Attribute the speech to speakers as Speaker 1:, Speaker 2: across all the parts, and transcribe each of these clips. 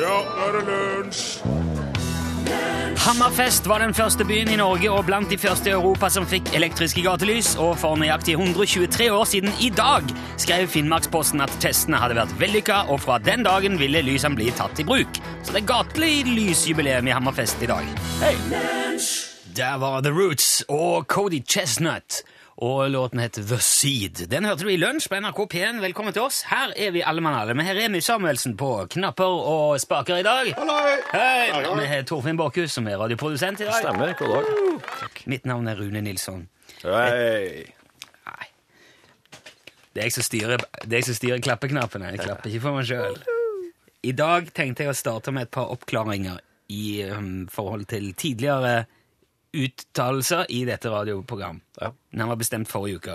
Speaker 1: Ja, nå er det lunsj!
Speaker 2: Hammerfest var den første byen i Norge og blant de første i Europa som fikk elektriske gatelys, og for nøyaktig 123 år siden i dag skrev Finnmarksposten at testene hadde vært vellykka, og fra den dagen ville lysene bli tatt i bruk. Så det er gatelig lysjubileum i Hammerfest i dag. Hei! Der var The Roots og Cody Chestnut, og låten het The Seed. Den hørte du i lunsj på NRK P1. Velkommen til oss. Her er vi alle mann alle, med Remi Samuelsen på knapper og spaker i dag. Hei! Vi har Torfinn Borkhus, som er radioprodusent i dag.
Speaker 3: Stemmer. God dag.
Speaker 2: Mitt navn er Rune Nilsson.
Speaker 3: Hei.
Speaker 2: Nei. Det er jeg som styrer, det er jeg som styrer klappeknappene. Jeg klapper ikke for meg sjøl. I dag tenkte jeg å starte med et par oppklaringer i um, forhold til tidligere uttalelser i dette radioprogram.
Speaker 3: Ja.
Speaker 2: Den var bestemt forrige uke.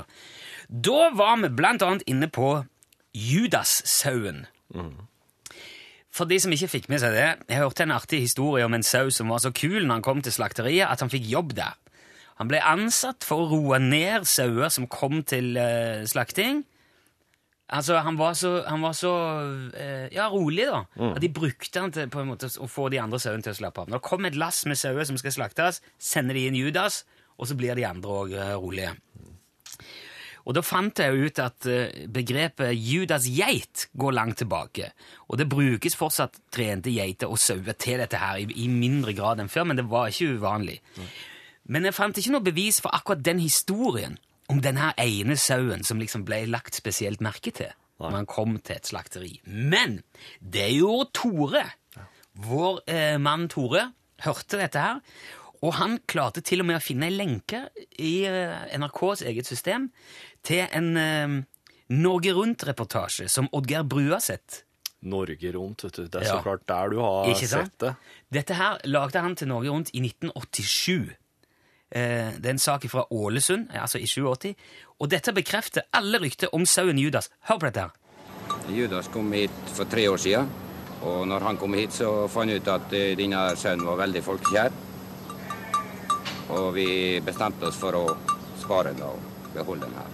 Speaker 2: Da var vi blant annet inne på Judas-sauen. For de som ikke fikk med seg det, jeg hørte en artig historie om en sau som var så kul når han kom til slakteriet at han fikk jobb der. Han ble ansatt for å roe ned sauer som kom til eh, slakting. Altså, han var så, han var så eh, ja, rolig, da. At de brukte han til på en måte, å få de andre sauene til å slappe av. Når det kom et lass med sauer som skal slaktes, sender de inn Judas, og så blir de andre òg rolige. Og da fant jeg jo ut at eh, begrepet Judas geit går langt tilbake. Og det brukes fortsatt trente geiter og sauer til dette her, i, i mindre grad enn før, men det var ikke uvanlig. Men jeg fant ikke noe bevis for akkurat den historien om den her ene sauen som liksom ble lagt spesielt merke til når han kom til et slakteri. Men det gjorde Tore. Vår eh, mann Tore hørte dette her, og han klarte til og med å finne en lenke i eh, NRKs eget system til en eh, Norge Rundt-reportasje som Oddgeir Bruaseth
Speaker 3: Norge rundt, vet du. Det er
Speaker 2: Ja.
Speaker 3: så klart der du har
Speaker 2: Ikke sant?
Speaker 3: sett det.
Speaker 2: Dette her lagde han til Norge Rundt i 1987. Eh, Det er en sak fra Ålesund, eh, altså i 87. Og dette bekrefter alle rykter om sauen Judas. Hør på dette her.
Speaker 4: Judas kom hit for tre år siden. Og når han kom hit, så fant jeg ut at eh, denne sønnen var veldig folkekjær. Og vi bestemte oss for å spare den og beholde den her.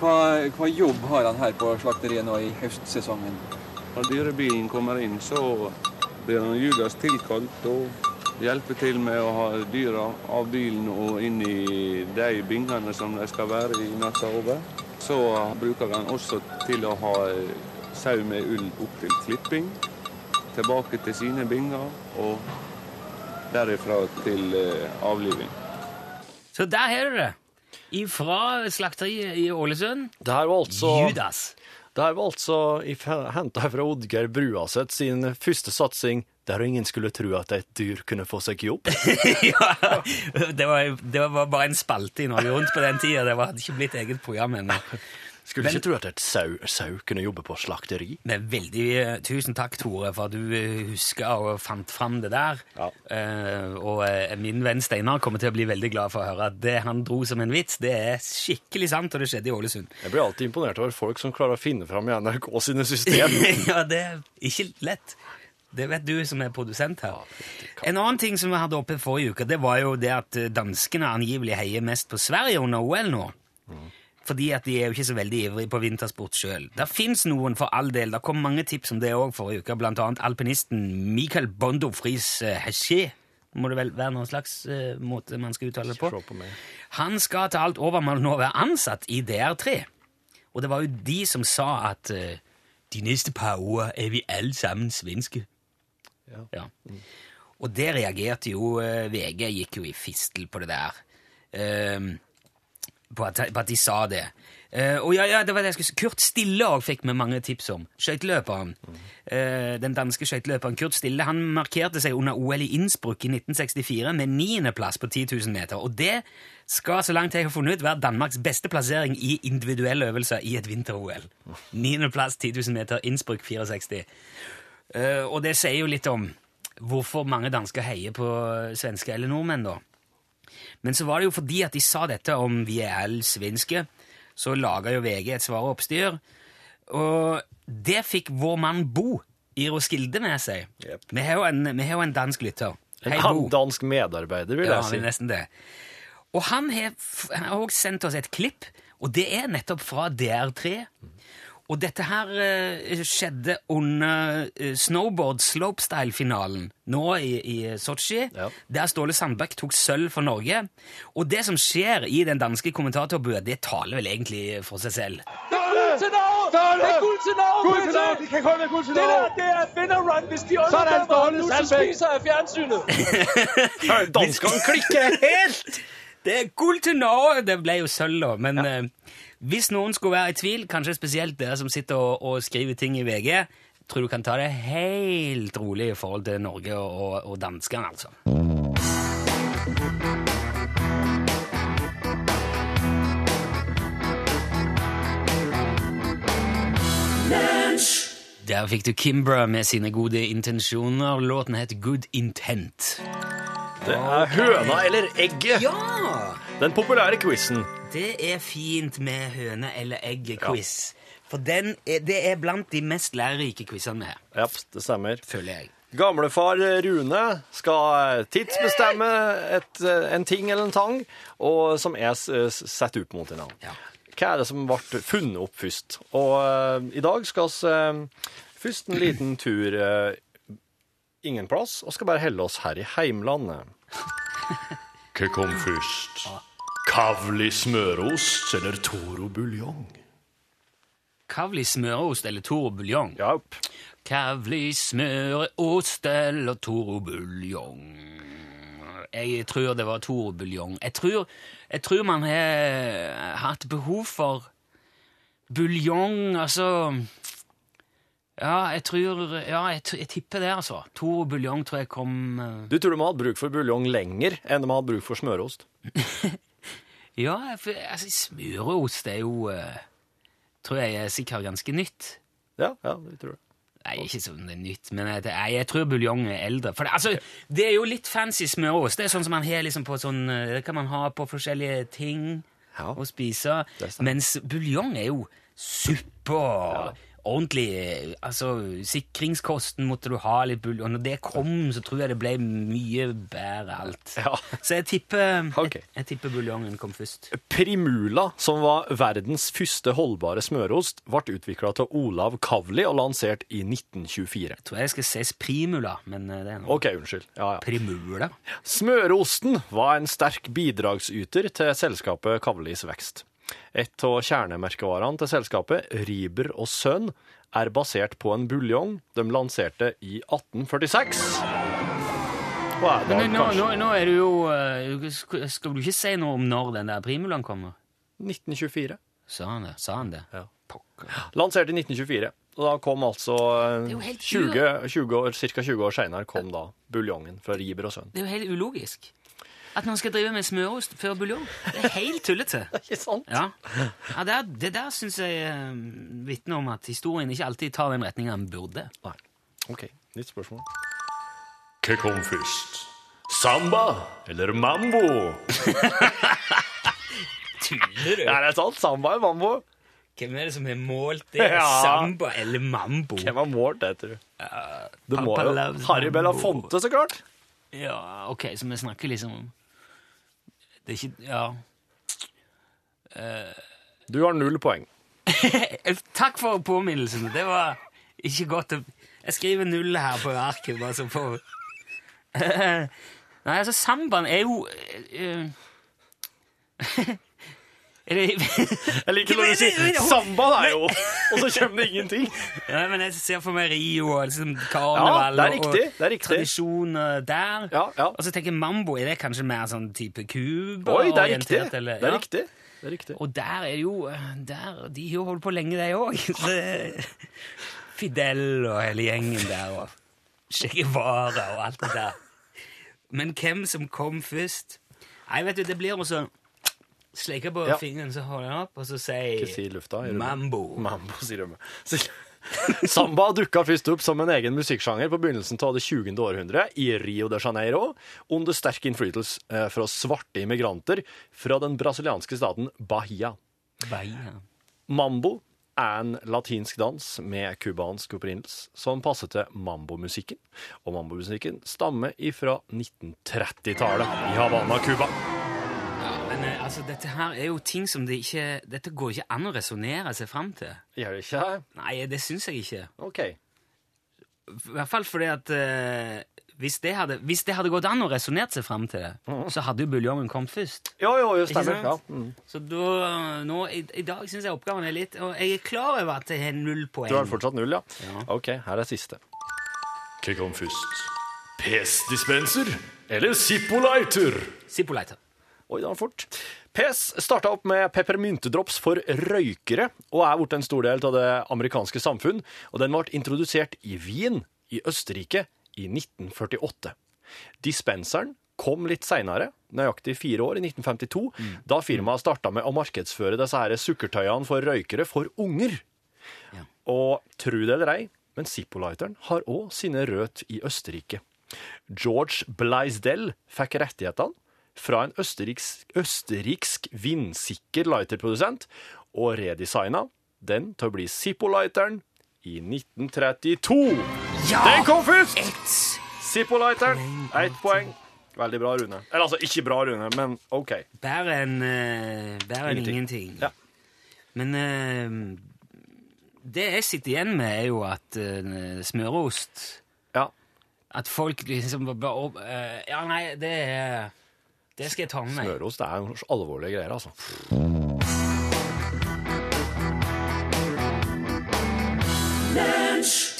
Speaker 5: Hva, hva jobb har han her på slakteriet nå i høstsesongen?
Speaker 6: Når dyrebyen kommer inn, så blir han Judas tilkalt og hjelper til med å ha dyra av bilen og inn i de bingene som de skal være i natta over. Så bruker han også til å ha eh, sau med ull opp til klipping, tilbake til sine binger og derifra til eh, avliving.
Speaker 2: Så der har du det. Ifra slakteriet i Ålesund.
Speaker 3: Det her var altså,
Speaker 2: Judas.
Speaker 3: det her var altså if- henta fra Oddgeir Bruaseth sin første satsing der ingen skulle tro at et dyr kunne få seg jobb.
Speaker 2: ja, det var, det var bare en spalte i Norge Rundt på den tida. Det var- hadde ikke blitt eget program ennå.
Speaker 3: Skulle ikke tro at et sau, sau kunne jobbe på slakteri.
Speaker 2: Men veldig eh, Tusen takk, Tore, for at du eh, husker og fant fram det der.
Speaker 3: Ja.
Speaker 2: Eh, og eh, min venn Steinar kommer til å bli veldig glad for å høre at det han dro som en vits, det er skikkelig sant, og det skjedde i Ålesund.
Speaker 3: Jeg blir alltid imponert over folk som klarer å finne fram i NRK sine system.
Speaker 2: ja, det er ikke lett. Det vet du som er produsent her. En annen ting som vi hadde oppe forrige uke, det var jo det at eh, danskene angivelig heier mest på Sverige under OL nå. Fordi at de er jo ikke så veldig ivrige på vintersport sjøl. Det fins noen, for all del. Det kom mange tips om det òg forrige uke, blant annet alpinisten Michael Bondo Friis eh, Hesje. Må det vel være noen slags eh, måte man skal uttale det på?
Speaker 3: Se på meg.
Speaker 2: Han skal til alt overmål nå være ansatt i DR3. Og det var jo de som sa at eh, de neste par år er vi alle sammen svenske.
Speaker 3: Ja.
Speaker 2: Og det reagerte jo eh, VG, gikk jo i fistel på det der. Ehm, på, at, på at de sa det. Eh, og ja, ja, det var det jeg skulle si. Kurt Stille òg fikk vi mange tips om. Skøyteløperen. Eh, den danske skøyteløperen Kurt Stille han markerte seg under OL i Innsbruck i 1964 med niendeplass på 10 000 meter. Og det skal, så langt jeg har funnet ut, være Danmarks beste plassering i individuelle øvelser i et vinter-OL. Niendeplass, 10 000 meter, Innsbruck 64. Eh, og det sier jo litt om hvorfor mange dansker heier på svensker eller nordmenn, da. Men så var det jo fordi at de sa dette om vi er alle svenske, så laga jo VG et svare oppstyr. Og det fikk vår mann Bo i Roskilde med seg.
Speaker 3: Jep.
Speaker 2: Vi har jo en, vi har jo en dansk lytter.
Speaker 3: En annen dansk medarbeider, vil
Speaker 2: Ja,
Speaker 3: jeg
Speaker 2: han
Speaker 3: si.
Speaker 2: er nesten det. Og han har f- han har også sendt oss et klipp, og det er nettopp fra DR3. Og dette her eh, skjedde under eh, snowboard slopestyle-finalen nå i, i Sotsji,
Speaker 3: Ja.
Speaker 2: der Ståle Sandbakk tok sølv for Norge. Og det som skjer i den danske kommentatorbua, det taler vel egentlig for seg selv.
Speaker 7: Det er guld til Norge! Guld til Norge! Det kan kun være guld til Norge! Det der, det er et winner run, hvis de underdømmer ham nu, så spiser jeg fjernsynet.
Speaker 3: Danskene klikker helt!
Speaker 2: Det er gull til Norge! Det ble jo sølv, da. Men eh, hvis noen skulle være i tvil, kanskje spesielt dere som sitter og, og skriver ting i VG, tror du kan ta det helt rolig i forhold til Norge og, og danskene, altså. Der fikk du Kimbra med sine gode intensjoner. Låten het Good Intent.
Speaker 3: Det er høna eller egget.
Speaker 2: Ja!
Speaker 3: Den populære quizen.
Speaker 2: Det er fint med høne- eller egg-quiz. For den er, det er blant de mest lærerike quizene vi har,
Speaker 3: Ja, det stemmer.
Speaker 2: føler jeg.
Speaker 3: Gamlefar Rune skal eh, tidsbestemme et, eh, en ting eller en tang, og eh, som er s- s- satt opp mot hverandre.
Speaker 2: Ja.
Speaker 3: Hva er det som ble funnet opp først? Og eh, i dag skal vi eh, først en liten tur eh, ingen plass, og skal bare helle oss her i heimlandet.
Speaker 1: Hva kom først? Kavli smørost eller Toro buljong?
Speaker 2: Kavli smørost eller Toro buljong?
Speaker 3: Ja, opp.
Speaker 2: Kavli smørost eller Toro buljong? Jeg tror det var Toro buljong. Jeg tror, jeg tror man har hatt behov for buljong, altså Ja, jeg tror Ja, jeg, t- jeg tipper det, altså. Toro buljong tror jeg kom eh,
Speaker 3: Du tror de har hatt bruk for buljong lenger enn de har hatt bruk for smørost?
Speaker 2: Ja, for, altså, smøreost er jo eh, Tror jeg er sikkert ganske nytt.
Speaker 3: Ja, ja, det tror jeg.
Speaker 2: Nei, ikke sånn det er nytt, men jeg, nei, jeg tror buljong er eldre. For det, altså, det er jo litt fancy smøreost. Det er sånn som man har liksom på sånn eh, Det kan man ha på forskjellige ting
Speaker 3: Ja.
Speaker 2: og spise.
Speaker 3: Det er sant.
Speaker 2: Mens buljong er jo suppe og ordentlig eh, Altså, sikringskosten måtte du ha litt buljong. Når det kom, så tror jeg det ble mye bedre alt.
Speaker 3: Ja.
Speaker 2: Så jeg tipper,
Speaker 3: Ok.
Speaker 2: jeg, jeg tipper buljongen kom først.
Speaker 3: Primula, som var verdens første holdbare smørost, ble utvikla av Olav Kavli og lansert i 1924.
Speaker 2: tror jeg skal ses primula, men eh, det er noe.
Speaker 3: OK, unnskyld. Ja, ja.
Speaker 2: Primula?
Speaker 3: Smørosten var en sterk bidragsyter til selskapet Kavlis vekst. Et av kjernemerkevarene til selskapet, Riber og Sønn, er basert på en buljong de lanserte i 1846. Hva er det,
Speaker 2: Men nå, nå,
Speaker 3: kanskje?
Speaker 2: nå er du jo eh, sk- Skal du ikke si noe om når den der primulaen kommer?
Speaker 3: 1924.
Speaker 2: Sa han det? Sa han det?
Speaker 3: Ja.
Speaker 2: Pokker.
Speaker 3: Lansert i 1924. Og da kom altså eh,
Speaker 2: er jo helt
Speaker 3: 20, 20 år, Ca. 20 år seinere kom da buljongen fra Riber og Sønn.
Speaker 2: Det er jo helt ulogisk. At man skal drive med smørost før buljong. Det er helt tullete.
Speaker 3: Ikke sant?
Speaker 2: Ja, ja Det, er- det der syns jeg eh, vitner om at historien ikke alltid tar den retninga den burde.
Speaker 3: Nei. OK, nytt spørsmål.
Speaker 1: Hva kom først? Samba eller mambo?
Speaker 2: Tuller du?
Speaker 3: Ja, det er sant. Samba er mambo.
Speaker 2: Hvem er det som har målt det?
Speaker 3: Ja.
Speaker 2: Samba eller mambo?
Speaker 3: Hvem har målt det, tror du? Det må
Speaker 2: Papa
Speaker 3: jo
Speaker 2: loves
Speaker 3: Harry
Speaker 2: mambo.
Speaker 3: Belafonte, så klart.
Speaker 2: Ja, ok, så vi snakker liksom om Det er ikke Ja.
Speaker 3: Du har null poeng.
Speaker 2: Eh, Takk for påminnelsen. Det var ikke godt. å- Jeg skriver null her på arket, bare så for Nei, altså, sambaen er jo eh, eh, Er det
Speaker 3: Jeg liker når du sier samba, det er jo Og så kommer det ingenting.
Speaker 2: Nei, men jeg ser for meg Rio og liksom
Speaker 3: Ja,
Speaker 2: karneval
Speaker 3: det er
Speaker 2: og-
Speaker 3: riktig, det er
Speaker 2: og
Speaker 3: riktig.
Speaker 2: tradisjoner der.
Speaker 3: Ja, ja.
Speaker 2: Og så tenker jeg mambo, er det kanskje mer sånn type Cuba?
Speaker 3: Oi, det er riktig.
Speaker 2: orientert, eller-
Speaker 3: Det er
Speaker 2: ja.
Speaker 3: riktig. Det er riktig.
Speaker 2: Og der er det jo der, De har jo holdt på lenge, de òg. Fidel og hele gjengen der og Che Guevara og alt det der. Men hvem som kom først Nei, vet du, det blir også Sleike på
Speaker 3: Ja.
Speaker 2: fingeren, så holder den opp, og så
Speaker 3: Ikke si
Speaker 2: sier
Speaker 3: lufta. gjør du det?
Speaker 2: Mambo.
Speaker 3: Mambo, sier de. Så- Samba dukka først opp som en egen musikksjanger på begynnelsen av det 20. århundret i Rio de Janeiro, under sterk innflytelse eh, fra svarte immigranter fra den brasilianske staten Bahia.
Speaker 2: Bahia.
Speaker 3: Mambo er en latinsk dans med cubansk opprinnelse som passer til mambomusikken. Og mambomusikken stammer ifra 1930-tallet i Havana, Cuba.
Speaker 2: Men Men eh, altså, dette her er jo ting som det ikke Dette går ikke an å resonnere seg fram til.
Speaker 3: Gjør det ikke det?
Speaker 2: Nei, det syns jeg ikke.
Speaker 3: OK.
Speaker 2: I hvert fall fordi at eh, hvis, det hadde, hvis det hadde gått an å resonnere seg fram til det,
Speaker 3: Mhm.
Speaker 2: så hadde jo buljongen kommet først.
Speaker 3: Jo, jo, jo,
Speaker 2: Ikke
Speaker 3: stemmer. Ja. Mm.
Speaker 2: sant? Så da, nå, i, i dag syns jeg oppgaven er litt Og jeg er klar over at jeg har null poeng.
Speaker 3: Du har fortsatt null, ja? OK, her er siste.
Speaker 1: Hva kom først? Pesdispenser eller Zippo-lighter?
Speaker 2: Zippo-lighter.
Speaker 3: Oi, det var fort. PES starta opp med peppermyntedrops for røykere, og er blitt en stor del av det amerikanske samfunn. Og den ble introdusert i Wien i Østerrike i 1948. Dispenseren kom litt seinere, nøyaktig fire år, i 1952, da firmaet starta med å markedsføre disse her sukkertøyene for røykere for unger. Og tru det eller ei, men Zippo-lighteren har òg sine røtter i Østerrike. George Blaisdell fikk rettighetene fra en østerriksk, østerriksk vindsikker lighterprodusent, og redesigna den til å bli Zippo-lighteren i 1932.
Speaker 2: Ja!
Speaker 3: Den kom først!
Speaker 2: Ett!
Speaker 3: Zippo-lighteren, ett poeng. Veldig bra, Rune. Eller altså, ikke bra, Rune, men OK.
Speaker 2: Bedre enn eh, bedre enn ingenting.
Speaker 3: Ja.
Speaker 2: Men eh, det jeg sitter igjen med, er jo at eh, smørost
Speaker 3: Ja.
Speaker 2: At folk liksom bare- bare opp- eh, Ja, nei, det er Det skal jeg ta med meg.
Speaker 3: Smørost det er jo alvorlige greier, altså.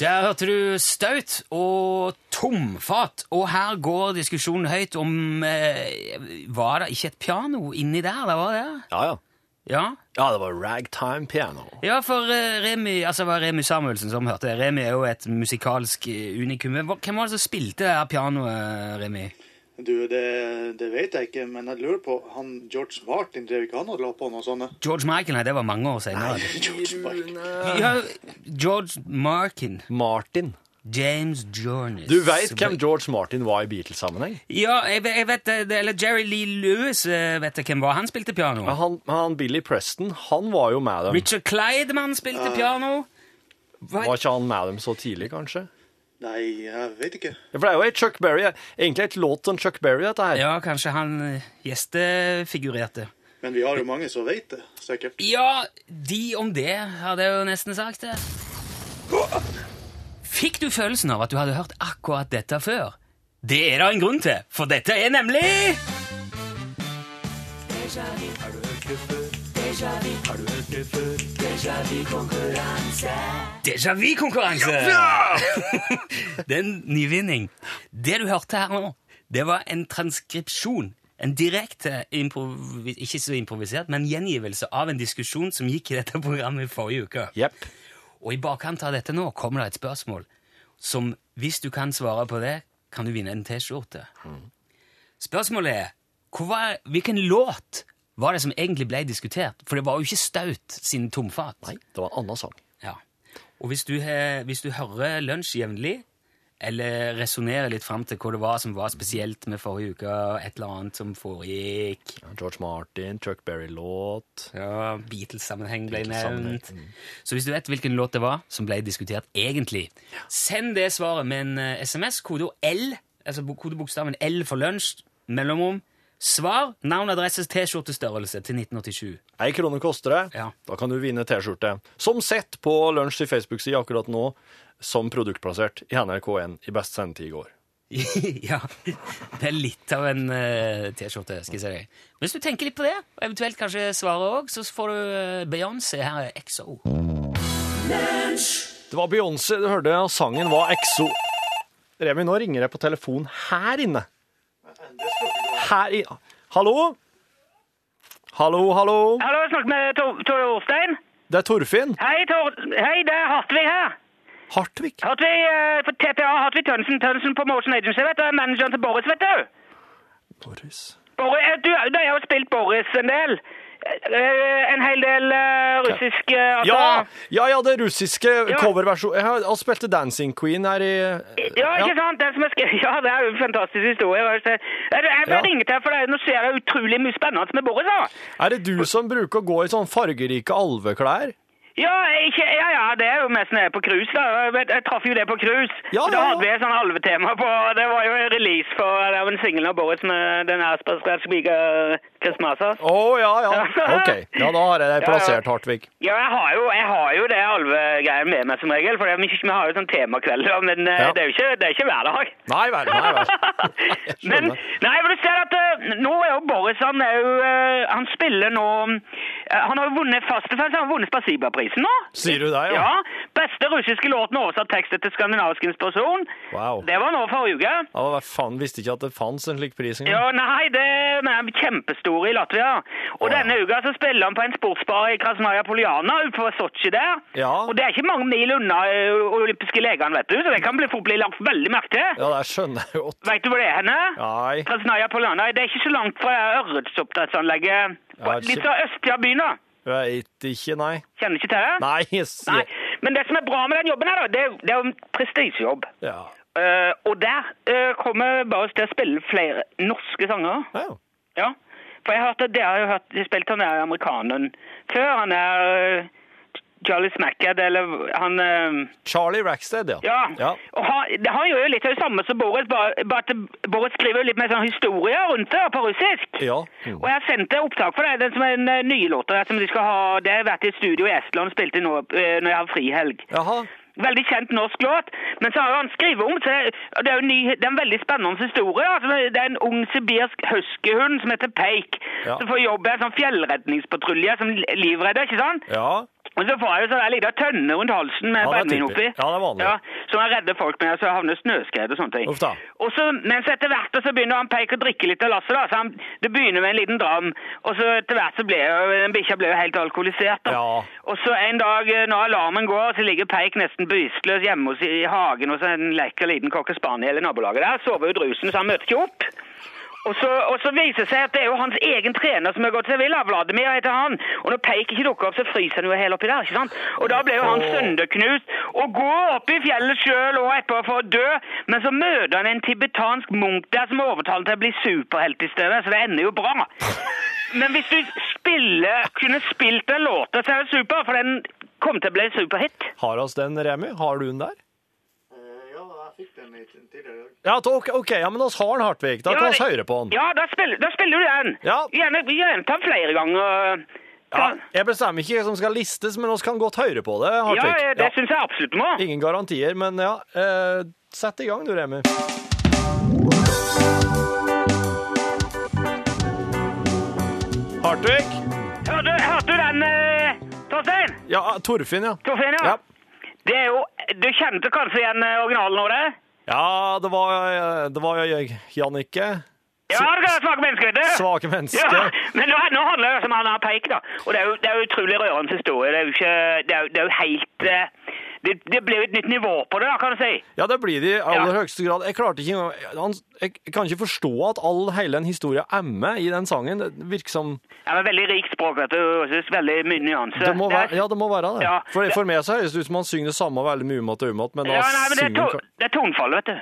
Speaker 2: Der hørte du staut og tomfat, og her går diskusjonen høyt om eh, Var det ikke et piano inni der? Det var det?
Speaker 3: Ja, ja.
Speaker 2: Ja.
Speaker 3: Ja, det var ragtime piano.
Speaker 2: Ja, for eh, Remi, altså det var Remi Samuelsen som hørte det. Remi er jo et musikalsk eh, unikum. Men hva- Hvem var det som spilte det her pianoet, Remi?
Speaker 8: Du, det, det vet jeg ikke, men jeg lurer på Han George Martin drev ikke han og la på noe sånne?
Speaker 2: George Michael? Nei, det var mange år senere.
Speaker 8: George Martin.
Speaker 2: Ja, George Markin.
Speaker 3: Martin.
Speaker 2: James Journeys.
Speaker 3: Du veit hvem George Martin var i Beatles-sammenheng?
Speaker 2: Ja, jeg, ve- jeg vet det. det- Eller Jerry Lee Lewis, eh, vet jeg hvem var. Han spilte piano.
Speaker 3: Men Han, han Billy Preston, han var jo med dem.
Speaker 2: Richard Clydeman spilte
Speaker 3: Ah.
Speaker 2: piano. Hva-
Speaker 3: Var ikke han med dem så tidlig, kanskje?
Speaker 8: Nei, jeg vet ikke.
Speaker 3: Ja, For det er jo et Chuck Berry, egentlig et låt om Chuck Berry, dette her.
Speaker 2: Ja, kanskje han eh, gjestefigurerte.
Speaker 8: Men vi har jo mange som vet det, sikkert.
Speaker 2: Ja, de om det, hadde jeg jo nesten sagt det. Fikk du følelsen av at du hadde hørt akkurat dette før? Det er det en grunn til, for dette er nemlig Déjà vu-konkurranse! Det er en nyvinning. Det du hørte her nå, det var en transkripsjon. En direkte, improvi- ikke så improvisert, men gjengivelse av en diskusjon som gikk i dette programmet forrige uke.
Speaker 3: Jepp.
Speaker 2: Og i bakkant av dette nå kommer det et spørsmål som, hvis du kan svare på det, kan du vinne en T-skjorte. Spørsmålet er hvor var, hvilken låt var det som egentlig ble diskutert? For det var jo ikke Staut sin tomfat.
Speaker 3: Nei, det var en annen sang.
Speaker 2: Ja. Og hvis du, har- hvis du hører lunsj jevnlig, eller resonnerer litt fram til hva det var som var spesielt med forrige uke, og et eller annet som foregikk
Speaker 3: Ja, George Martin, Chuck Berry-låt.
Speaker 2: ja, Beatles-sammenheng mm. ble
Speaker 3: Beatles-sammenheng,
Speaker 2: nevnt. Så hvis du vet hvilken låt det var som ble diskutert egentlig, send det svaret med en eh, SMS, kode L, altså bo- kodebokstaven L for lunsj, mellomrom, svar, navn, adresse, T-skjortestørrelse til 1987.
Speaker 3: Ei krone koster det.
Speaker 2: Ja.
Speaker 3: Da kan du vinne T-skjorte. Som sett på Lunsj i Facebook-side akkurat nå, som produktplassert i NRK1 i best sendetid i går.
Speaker 2: ja, det er litt av en eh, T-skjorte, skal jeg si deg. Men hvis du tenker litt på det, og eventuelt kanskje svaret òg, så får du eh, Beyoncé her er XO.
Speaker 3: Det var Beyoncé du hørte, og sangen var Exo. Remi, nå ringer jeg på telefon her inne. Her i Hallo? Hallo, hallo.
Speaker 9: Hallo, jeg snakker med Tor Tore Orstein.
Speaker 3: Det er Torfinn
Speaker 9: Hei, Tor Hei, det er Hartvig her.
Speaker 3: Hartvig.
Speaker 9: Hartvig eh, for TPA, Hartvig Tønsen, Tønsen Promotion Agency, vet du. Jeg er manageren til Boris, vet du.
Speaker 3: Norris.
Speaker 9: Boris, eh, du, du har jo spilt Boris en del. Eh, En hel del eh, russisk eh, altså,
Speaker 3: Ja, ja, ja, det russiske
Speaker 9: Ja.
Speaker 3: coverversjonen. Jeg har- Han spilte Dancing Queen her i
Speaker 9: Ja, ikke sant? Den som er skrevet, ja, det er jo en fantastisk historie. hva skal Jeg si? Jeg- jeg bare
Speaker 3: Ja.
Speaker 9: ringte her, for det er- nå skjer det utrolig mye spennende med Boris. da.
Speaker 3: Er det du som bruker å gå i sånn fargerike alveklær?
Speaker 2: Ja, ikke, ja, ja, det er jo mest nede på cruise. da. Jeg, vet- jeg traff jo det på cruise.
Speaker 3: Ja,
Speaker 2: Og Da
Speaker 3: ja, ja.
Speaker 2: hadde vi et sånn alvetema på Det var jo en release for av en singel av Boris med den her Spasbergsviga Kristmasa.
Speaker 3: Å, ja, ja. OK. Ja, da har jeg deg plassert, Hartvig.
Speaker 2: Ja, jeg har jo, jeg har jo det alvegreier med meg som regel. For det er mye- vi har jo sånn temakveld, da, men eh,
Speaker 3: Ja.
Speaker 2: det er jo ikke, det er ikke hver dag.
Speaker 3: Nei vel, nei vel. Jeg
Speaker 2: Men,
Speaker 3: skjønner.
Speaker 2: nei, men du ser at eh, nå er jo Boris Han, er jo, eh, han spiller nå eh, Han har jo vunnet Fastefest, han har vunnet Spasiba-prisen nå.
Speaker 3: Sier du det,
Speaker 2: Ja.
Speaker 3: ja?
Speaker 2: Beste russiske låten oversatt tekst etter skandinavisk inspirasjon.
Speaker 3: Wow.
Speaker 2: Det var nå forrige uke.
Speaker 3: Ja, hva faen, visste ikke at det fantes en slik pris engang.
Speaker 2: Ja, nei, det den er kjempestor i Latvia.
Speaker 3: Wow.
Speaker 2: Og denne uka så spiller han på en sportsbar i Krasnaja Poliana utenfor Sotsji der.
Speaker 3: Ja.
Speaker 2: Og det er ikke mange mil unna ø, olympiske legene, vet du, så det kan bli fort bli lagt veldig merke til.
Speaker 3: Ja, det skjønner jeg godt.
Speaker 2: Vet du hvor det er henne?
Speaker 3: Nei.
Speaker 2: Krasnaja Poliana, det er ikke så langt fra ørretsoppdrettsanlegget.
Speaker 3: Ja,
Speaker 2: Litt fra østsida av byen da.
Speaker 3: Veit ikke, nei.
Speaker 2: Kjenner ikke til det?
Speaker 3: Nei, jeg sier
Speaker 2: Nei. Men det som er bra med den jobben her, da, det, er jo- det er jo en prestisjejobb.
Speaker 3: Ja.
Speaker 2: Eh, og der eh, kommer Baus til å spille flere norske sanger.
Speaker 3: ja.
Speaker 2: Ja. For jeg har hørt at dere har jo hørt de spilte han der amerikaneren før. Han er eh, Charlie Smackett, eller han eh,
Speaker 3: Charlie Rackstead, ja.
Speaker 2: Ja.
Speaker 3: ja.
Speaker 2: Og han, det- han gjør jo litt av det samme som Boris, bare, bare at Boris skriver jo litt mer sånn historie rundt det på russisk.
Speaker 3: Ja. Mm.
Speaker 2: Og jeg har sendt et opptak for deg, den som er en eh, nye låter der som de skal ha. Det har vært i studio i Estland og spilt i nå eh, når jeg har frihelg.
Speaker 3: Jaha.
Speaker 2: Veldig kjent norsk låt, men så har jo han skrevet om så det, og det er jo en ny, det er en veldig spennende historie. Altså, det er en ung sibirsk huskyhund som heter Peik,
Speaker 3: Ja.
Speaker 2: som får jobb i en sånn fjellredningspatrulje som li- livredder, ikke sant?
Speaker 3: Ja.
Speaker 2: Og så får han jo sånn der liten tønne rundt halsen med
Speaker 3: Ja, det er
Speaker 2: brennevin oppi.
Speaker 3: typisk. Ja, det er vanlig.
Speaker 2: som han redder folk med, så havner snøskred og sånne ting.
Speaker 3: Uff da.
Speaker 2: Og så, mens etter hvert så begynner han Peik å drikke litt av lasset, da, så han, det begynner med en liten dram, og så etter hvert så ble jo, den bikkja ble jo helt alkoholisert. Da.
Speaker 3: Ja.
Speaker 2: Og så en dag eh, når alarmen går, så ligger Peik nesten bevisstløs hjemme hos, i hagen hos en lekker liten cocker spaniel i nabolaget der, sover ut rusen, så han møter ikke opp. Og så, og så viser det seg at det er jo hans egen trener som har gått seg vill. da. Vladimir heter han. Og når Peik ikke dukker opp, så fryser han jo helt oppi der. ikke sant? Og da ble jo han sønderknust og går opp i fjellet sjøl og etterpå for å dø. Men så møter han en tibetansk munk der som overtaler han til å bli superhelt i stedet, så det ender jo bra. Men hvis du spiller, kunne spilt den låta, så er det super, for den kom til å bli superhit.
Speaker 3: Har oss den, Remi? Har du den der?
Speaker 8: Eh,
Speaker 10: Ja, jeg fikk den litt tidligere i dag.
Speaker 3: Ja, t- OK, ok, ja, men oss har den, Hartvig. Da kan
Speaker 2: Ja,
Speaker 3: oss
Speaker 2: det-
Speaker 3: høre på den.
Speaker 2: Ja, da spiller, da spiller du den.
Speaker 3: Ja.
Speaker 2: Gjerne, gjerne ta den flere ganger.
Speaker 3: Ja, jeg bestemmer ikke hva som skal listes, men oss kan godt høre på det,
Speaker 2: Ja,
Speaker 3: Hartvig.
Speaker 2: det syns jeg absolutt du må.
Speaker 3: Ingen garantier, men ja. Eh, sett i gang du, Remi. Hartvig?
Speaker 2: Hørte, hørte du den, eh, Torstein?
Speaker 3: Ja, Torfinn, ja.
Speaker 2: Torstein, ja.
Speaker 3: Ja,
Speaker 2: Det er jo, du kjente kanskje igjen eh, originalen av det?
Speaker 3: ja det var, eh, det var jeg, Jannicke.
Speaker 2: Ja, det er svake mennesker, vet du.
Speaker 3: Svake mennesker.
Speaker 2: Ja, men nå, nå handler det jo som han har peik, da. Og det er jo, det er jo utrolig rørende historie. Det er jo ikke, det er, jo- det er jo helt... eh, Det, det blir jo et nytt nivå på det, da, kan du si.
Speaker 3: Ja, det blir det i aller
Speaker 2: Ja.
Speaker 3: høyeste grad. Jeg klarte ikke engang han- Jeg jeg kan ikke forstå at all hele den historien er med i den sangen. Det virker som
Speaker 2: Ja, men veldig rikt språk, vet du. og så Veldig mye nyanser.
Speaker 3: det må være, Ja, det må være det.
Speaker 2: Ja.
Speaker 3: For, for meg så høres det ut som han synger det samme veldig mye umat og umat, men da
Speaker 2: Ja, nei, men det er,
Speaker 3: synger
Speaker 2: to, det er tonfallet, vet du.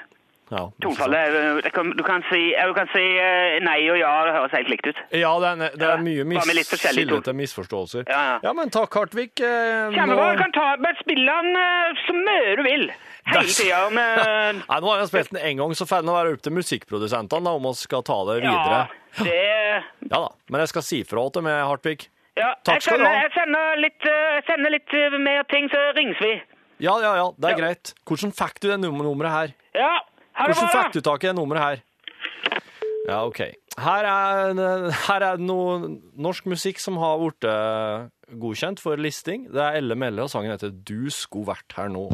Speaker 3: Ja, ikke sant.
Speaker 2: Tonfallet, er, eh, det kan, du, kan si, ja, du kan si eh, nei og ja, det høres helt likt ut.
Speaker 3: Ja, det er, det
Speaker 2: Ja,
Speaker 3: er mye
Speaker 2: bare med litt
Speaker 3: mis
Speaker 2: forskjellig
Speaker 3: kilde til misforståelser.
Speaker 2: Ja, ja.
Speaker 3: men takk, Hartvig. Eh,
Speaker 2: Kjempebra.
Speaker 3: nå-
Speaker 2: Du kan ta, bare spille den eh, så mye du vil. Hele eh, tida med
Speaker 3: Nei, nå har jeg spilt den en gang, så får det nå være opp til musikkprodusentene da, om vi skal ta det videre.
Speaker 2: Ja, det
Speaker 3: Ja da, men jeg skal si fra til med Hartvig.
Speaker 2: ja,
Speaker 3: Takk
Speaker 2: jeg
Speaker 3: skal du
Speaker 2: sender,
Speaker 3: ha.
Speaker 2: Jeg sender litt, eh, jeg sender litt eh, mer ting, så ringes vi.
Speaker 3: Ja, ja, ja, det er
Speaker 2: Ja.
Speaker 3: greit. Hvordan fikk du det num- nummeret her?
Speaker 2: Ja, ha det
Speaker 3: Hvordan
Speaker 2: bra,
Speaker 3: fikk
Speaker 2: da.
Speaker 3: du tak i det nummeret her? Ja, OK. Her er, eh, her er det noe norsk musikk som har blitt eh, godkjent for listing. Det er Elle Melle, og sangen heter 'Du sko vært her nå'.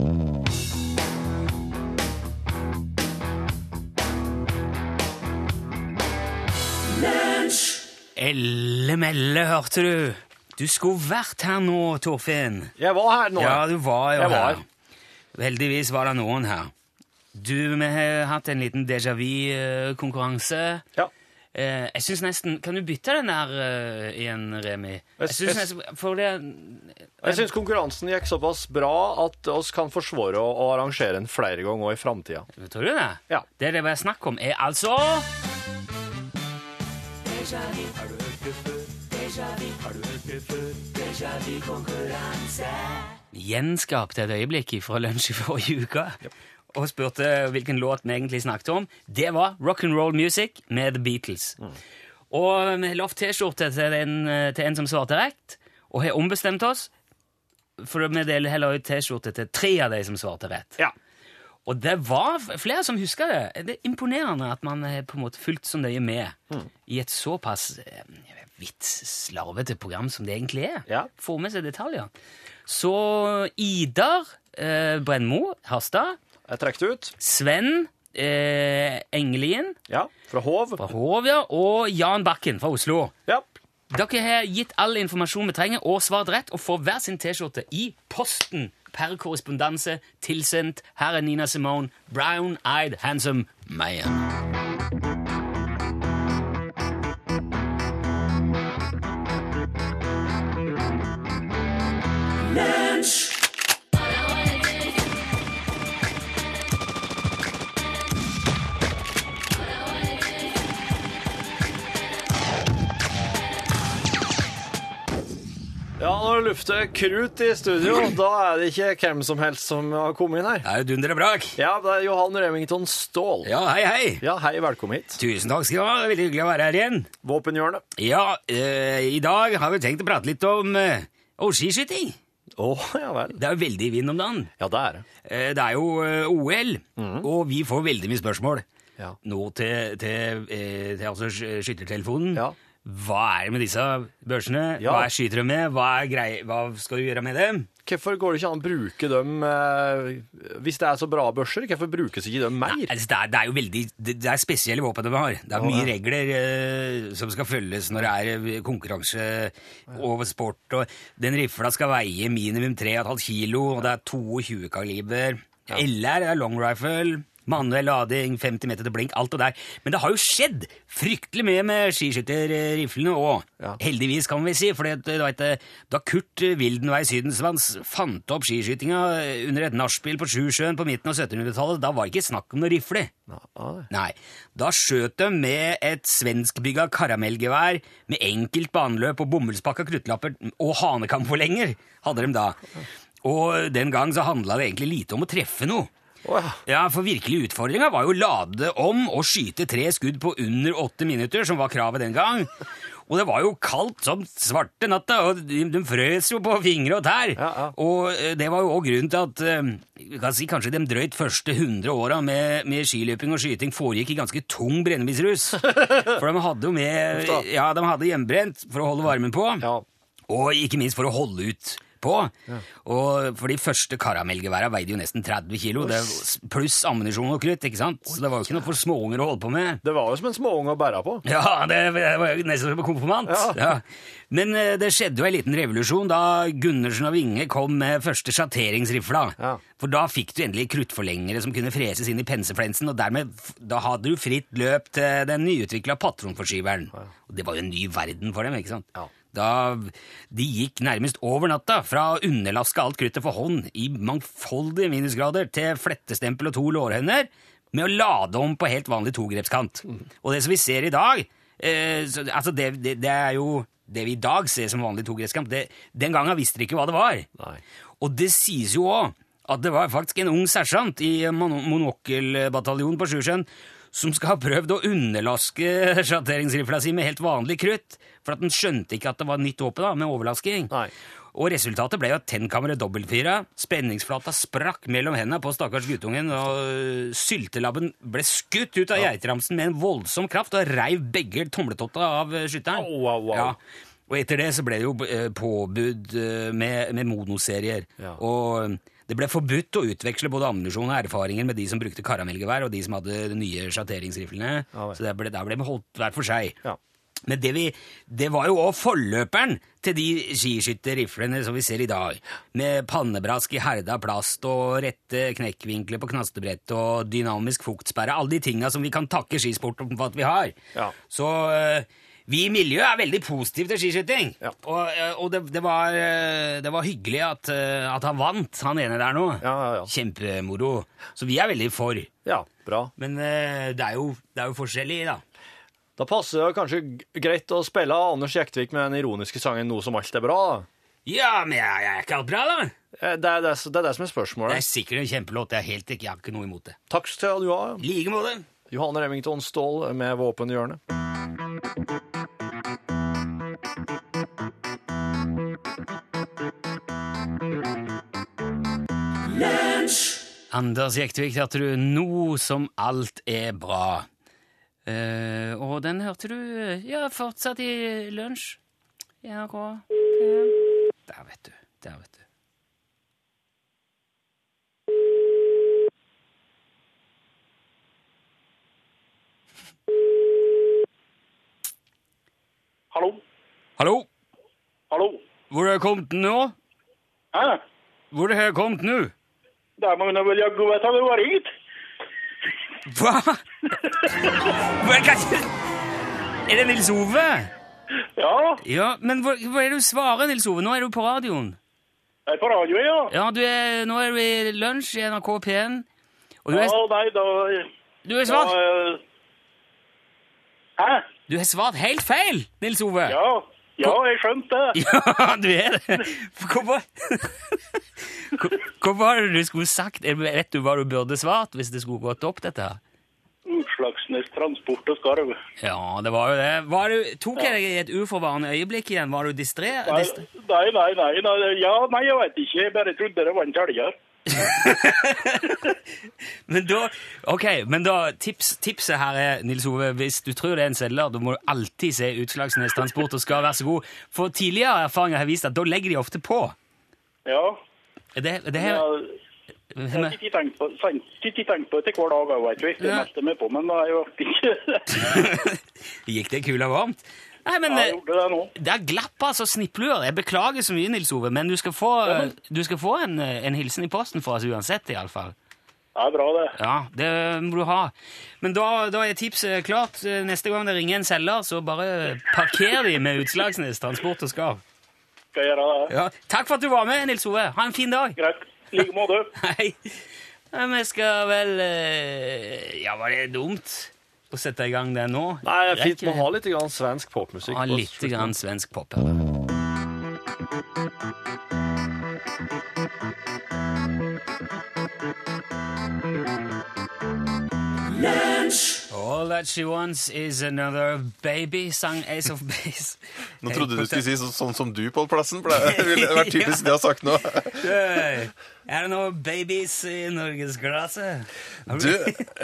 Speaker 11: Ellemelle, hørte du? Du skulle vært her nå, Torfinn.
Speaker 3: Jeg var her nå.
Speaker 11: Ja, du var jo
Speaker 3: Jeg var
Speaker 11: her. Heldigvis var det noen her. Du, vi har hatt en liten déjà vu-konkurranse.
Speaker 3: Ja.
Speaker 11: Eh, jeg syns nesten Kan du bytte den der eh, igjen, Remi? Jeg synes
Speaker 3: jeg-
Speaker 11: nesten, For det
Speaker 3: Jeg syns konkurransen gikk såpass bra at oss kan forsvare å å arrangere den flere ganger også i framtida.
Speaker 11: Tror du det?
Speaker 3: Ja.
Speaker 11: Det det bare er snakk om, er altså
Speaker 2: Gjenskapte et øyeblikk fra lunsj i forrige uke og spurte hvilken låt vi egentlig snakket om. Det var Rock'n'Roll Music med The Beatles. Og vi lovte T-skjorte til, den- til en som svarte rett, og har ombestemt oss. For vi deler heller ut T-skjorte til tre av de som svarte rett.
Speaker 3: Ja.
Speaker 2: Og det var f- flere som husker det. Det er imponerende at man har på en måte fulgt så nøye med i et såpass eh, vidt slarvete program som det egentlig er.
Speaker 3: Ja.
Speaker 2: Får med seg detaljer. Så Idar eh, Brennmo Harstad,
Speaker 3: Jeg trekk det ut.
Speaker 2: Sven eh, Engelien
Speaker 3: Ja. Fra Hov.
Speaker 2: fra Hovja og Jan Bakken fra Oslo.
Speaker 3: Ja.
Speaker 2: Dere har gitt all informasjon vi trenger, og svart rett, og får hver sin T-skjorte i posten per korrespondanse tilsendt. Her er Nina Simone, Brown Eyed Handsome Man.
Speaker 3: ja, når det lufter krutt i studio, da er det ikke hvem som helst som har kommet inn her.
Speaker 2: Det er jo dundre brak.
Speaker 3: Ja, det er Johan Remington Ståhl.
Speaker 2: Ja, hei, hei.
Speaker 3: Ja, hei, velkommen hit.
Speaker 2: Tusen takk skal du ha. Det er Veldig hyggelig å være her igjen.
Speaker 3: Våpenhjørnet.
Speaker 2: Ja, eh, i dag har vi tenkt å prate litt om eh, om skiskyting.
Speaker 3: Å, ja vel.
Speaker 2: Det er jo veldig i vinden om dagen.
Speaker 3: Ja, det er det.
Speaker 2: Eh, Det er jo eh, OL, og vi får veldig mye spørsmål
Speaker 3: Ja.
Speaker 2: nå til, til, eh, til altså sk- skyttertelefonen.
Speaker 3: Ja.
Speaker 2: Hva er det med disse børsene?
Speaker 3: Ja.
Speaker 2: Hva er skyter de med? Hva, er grei, hva skal du gjøre med dem?
Speaker 3: Hvorfor går det ikke an å bruke dem eh, Hvis det er så bra børser, hvorfor brukes ikke dem mer?
Speaker 2: Altså, det, er, det er jo veldig det, det er spesielle våpen de har. Det er mye regler eh, som skal følges når det er eh, konkurranse og sport. Og den rifla skal veie minimum 3,5 kilo, og det er 22 kaliber. LR det er long rifle. Manuell lading, 50 meter til blink, alt det der. Men det har jo skjedd fryktelig mye med skiskytterriflene òg. Heldigvis, kan vi si. For da Kurt Wildenvei Sydensvans fant opp skiskytinga under et nachspiel på Sjusjøen på midten av 1700-tallet, da var det ikke snakk om noe rifle. Nei. Da skjøt de med et svenskbygga karamellgevær med enkelt baneløp og bomullspakka kruttlapper og hanekamforlenger hadde de da. Og den gang så handla det egentlig lite om å treffe noe.
Speaker 3: Å, ja.
Speaker 2: Ja, for virkelig utfordringa var jo å lade om og skyte tre skudd på under åtte minutter, som var kravet den gang. Og det var jo kaldt som svarte natta, og de, de frøs jo på fingre og tær.
Speaker 3: ja.
Speaker 2: Og eh, det var jo òg grunnen til at eh, vi kan si kanskje de drøyt første 100 åra med, med skiløping og skyting foregikk i ganske tung brennevinsrus. For de hadde jo med
Speaker 3: Uff da.
Speaker 2: Ja, de hadde hjemmebrent for å holde varmen på.
Speaker 3: Ja.
Speaker 2: Og ikke minst for å holde ut på. Og for de første karamellgeværene veide jo nesten 30 kilo, det, pluss ammunisjon og krutt, ikke sant? Så det var jo ikke noe for småunger å holde på med.
Speaker 3: Det var jo som en småunge å bære på.
Speaker 2: Ja, det var jo nesten som en konfirmant. Ja.
Speaker 3: Ja.
Speaker 2: Men eh, det skjedde jo en liten revolusjon da Gundersen og Winge kom med første sjatteringsrifla.
Speaker 3: Ja.
Speaker 2: For da fikk du endelig kruttforlengere som kunne freses inn i penseflensen, og dermed f- da hadde du fritt løp til den nyutvikla patronforskyveren. Og det var jo en ny verden for dem, ikke sant?
Speaker 3: Ja.
Speaker 2: Da de gikk nærmest over natta fra å underlaske alt kruttet for hånd i mangfoldige minusgrader til flettestempel og to lårhøner med å lade om på helt vanlig togrepskant. Og det som vi ser i dag, eh, så, altså det, det, det er jo det vi i dag ser som vanlig togrepskant. Det, den gangen visste de ikke hva det var.
Speaker 3: Nei.
Speaker 2: Og det sies jo òg at det var faktisk en ung sersjant i mon- monokkelbataljonen på Sjusjøen som skal ha prøvd å underlaske sjatteringsrifla si med helt vanlig krutt, for at den skjønte ikke at det var nytt våpen da, med overlasking.
Speaker 3: Nei.
Speaker 2: Og resultatet ble jo at tennkammeret dobbeltfyra, spenningsflata sprakk mellom hendene på stakkars guttungen, og øh, syltelabben ble skutt ut av geitramsen med en voldsom kraft og reiv begge tomletotta av øh, skytteren.
Speaker 3: Au, au, au.
Speaker 2: Ja. Og etter det så ble det jo eh, påbud eh, med, med monoserier.
Speaker 3: Ja.
Speaker 2: Og øh, det ble forbudt å utveksle både ammunisjon og erfaringer med de som brukte karamellgevær, og de som hadde de nye sjatteringsriflene.
Speaker 3: Ja vel.
Speaker 2: så der ble, der ble de holdt hver for seg.
Speaker 3: Ja.
Speaker 2: Men det, vi, det var jo òg forløperen til de skiskytterriflene som vi ser i dag. Med pannebrask i herda plast og rette knekkvinkler på knastebrett og dynamisk fuktsperre. Alle de tinga som vi kan takke skisporten for at vi har.
Speaker 3: Ja.
Speaker 2: Så eh, vi i miljøet er veldig positive til skiskyting.
Speaker 3: Ja.
Speaker 2: Og, eh, og det, det, var, eh, det var hyggelig at, eh, at han vant, han ene der nå.
Speaker 3: Ja, ja, ja.
Speaker 2: Kjempemoro. Så vi er veldig for.
Speaker 3: Ja, bra.
Speaker 2: Men eh, det er jo, det er jo forskjellig, da.
Speaker 3: Da passer det kanskje g- greit å spille Anders Jektvik med den ironiske sangen 'Nå som alt er bra'.
Speaker 2: Ja, men jeg, jeg er ikke alt bra, da.
Speaker 3: Eh, Det er det, er- det, er det som er
Speaker 2: Det er
Speaker 3: spørsmålet.
Speaker 2: sikkert en kjempelåt. Jeg, er helt, ikke- jeg har ikke noe imot det.
Speaker 3: Takk skal du ha,
Speaker 2: I like måte.
Speaker 3: Johanne Remington Ståhl med Våpenhjørnet.
Speaker 2: Anders Jektvik hørte du 'Nå som alt er bra'. Eh, og den hørte du ja, fortsatt i lunsj. I NRK. Der, vet du. Der, vet du.
Speaker 7: Hallo?
Speaker 2: Hallo?
Speaker 7: Hallo?
Speaker 2: Hvor har jeg kommet nå?
Speaker 7: Hæ?
Speaker 2: Hvor har jeg kommet nå?
Speaker 7: Damene vil jeg gå etter det var ringt.
Speaker 2: Hva? Hva er det? Er det Nils Ove?
Speaker 7: Ja,
Speaker 2: Ja, men hva, hva er det du svarer, Nils Ove? Nå er du på radioen.
Speaker 7: jeg er på radio, ja.
Speaker 2: Ja, du er, nå er du i lunsj i NRK P1. Og du
Speaker 7: Ja,
Speaker 2: er,
Speaker 7: nei, da...
Speaker 2: du er
Speaker 7: da
Speaker 2: svart
Speaker 7: eh, Hæ?
Speaker 2: Du har svart helt feil, Nils Ove!
Speaker 7: Ja, ja, jeg skjønte det.
Speaker 2: Ja, du er det! Hvorfor Hvor- Hva var det du skulle sagt? Er- Vet du hva du burde svart hvis det skulle gått opp, dette? her?
Speaker 7: Utslagsnes transport og skarv.
Speaker 2: Ja, det var jo det. Var du, tok jeg deg i et uforvarende øyeblikk igjen? Var du distré?
Speaker 7: Nei,
Speaker 2: distre-
Speaker 7: nei, nei, nei, nei, ja, nei, jeg vet ikke. Jeg bare trodde det var en telger.
Speaker 2: Men da, ok, men da tips, tipset her er, Nils Ove, hvis du tror det er en selger, da må du alltid se Utslagsnes Transport og skal være så god. For tidligere erfaringer har vist at da legger de ofte på.
Speaker 7: Ja,
Speaker 2: Er det, er det
Speaker 7: ja.
Speaker 2: her?
Speaker 7: Jeg har ikke tenkt på, sen- ikke tenkt på det hver dag, jeg vet ikke. Det
Speaker 2: Ja.
Speaker 7: meste med på, men det er jo ikke...
Speaker 2: Gikk det kula varmt? Nei, men
Speaker 7: Ja,
Speaker 2: eh,
Speaker 7: jeg gjorde det nå.
Speaker 2: det er glapp altså snippluer. Jeg beklager så mye, Nils Ove, men du skal få, eh, du skal få en, eh, en hilsen i posten for oss uansett, i alle fall.
Speaker 7: Det er bra, det.
Speaker 2: Ja, det må du ha. Men da, da er tipset klart. Neste gang det ringer en selger, så bare parker de med Utslagsnes Transport og Skarv.
Speaker 7: Skal jeg gjøre det.
Speaker 2: Ja. Takk for at du var med, Nils Ove. Ha en fin dag.
Speaker 7: Greit. I like måte.
Speaker 2: Hei. Nei, Vi skal vel eh, Ja, var det dumt å sette i gang det nå?
Speaker 3: Nei, det er fint.
Speaker 2: Rekker
Speaker 3: Man har litt grann svensk popmusikk.
Speaker 2: Ha
Speaker 3: på
Speaker 2: litt
Speaker 3: slutten.
Speaker 2: grann svensk pop her. All that she wants is another baby, sang Ace of Base.
Speaker 10: Nå trodde du skulle si så, sånn som du, Pål Plassen, for det ville vært typisk det jeg har sagt nå.
Speaker 2: Er det noen babies i norgesglasset?
Speaker 10: Du,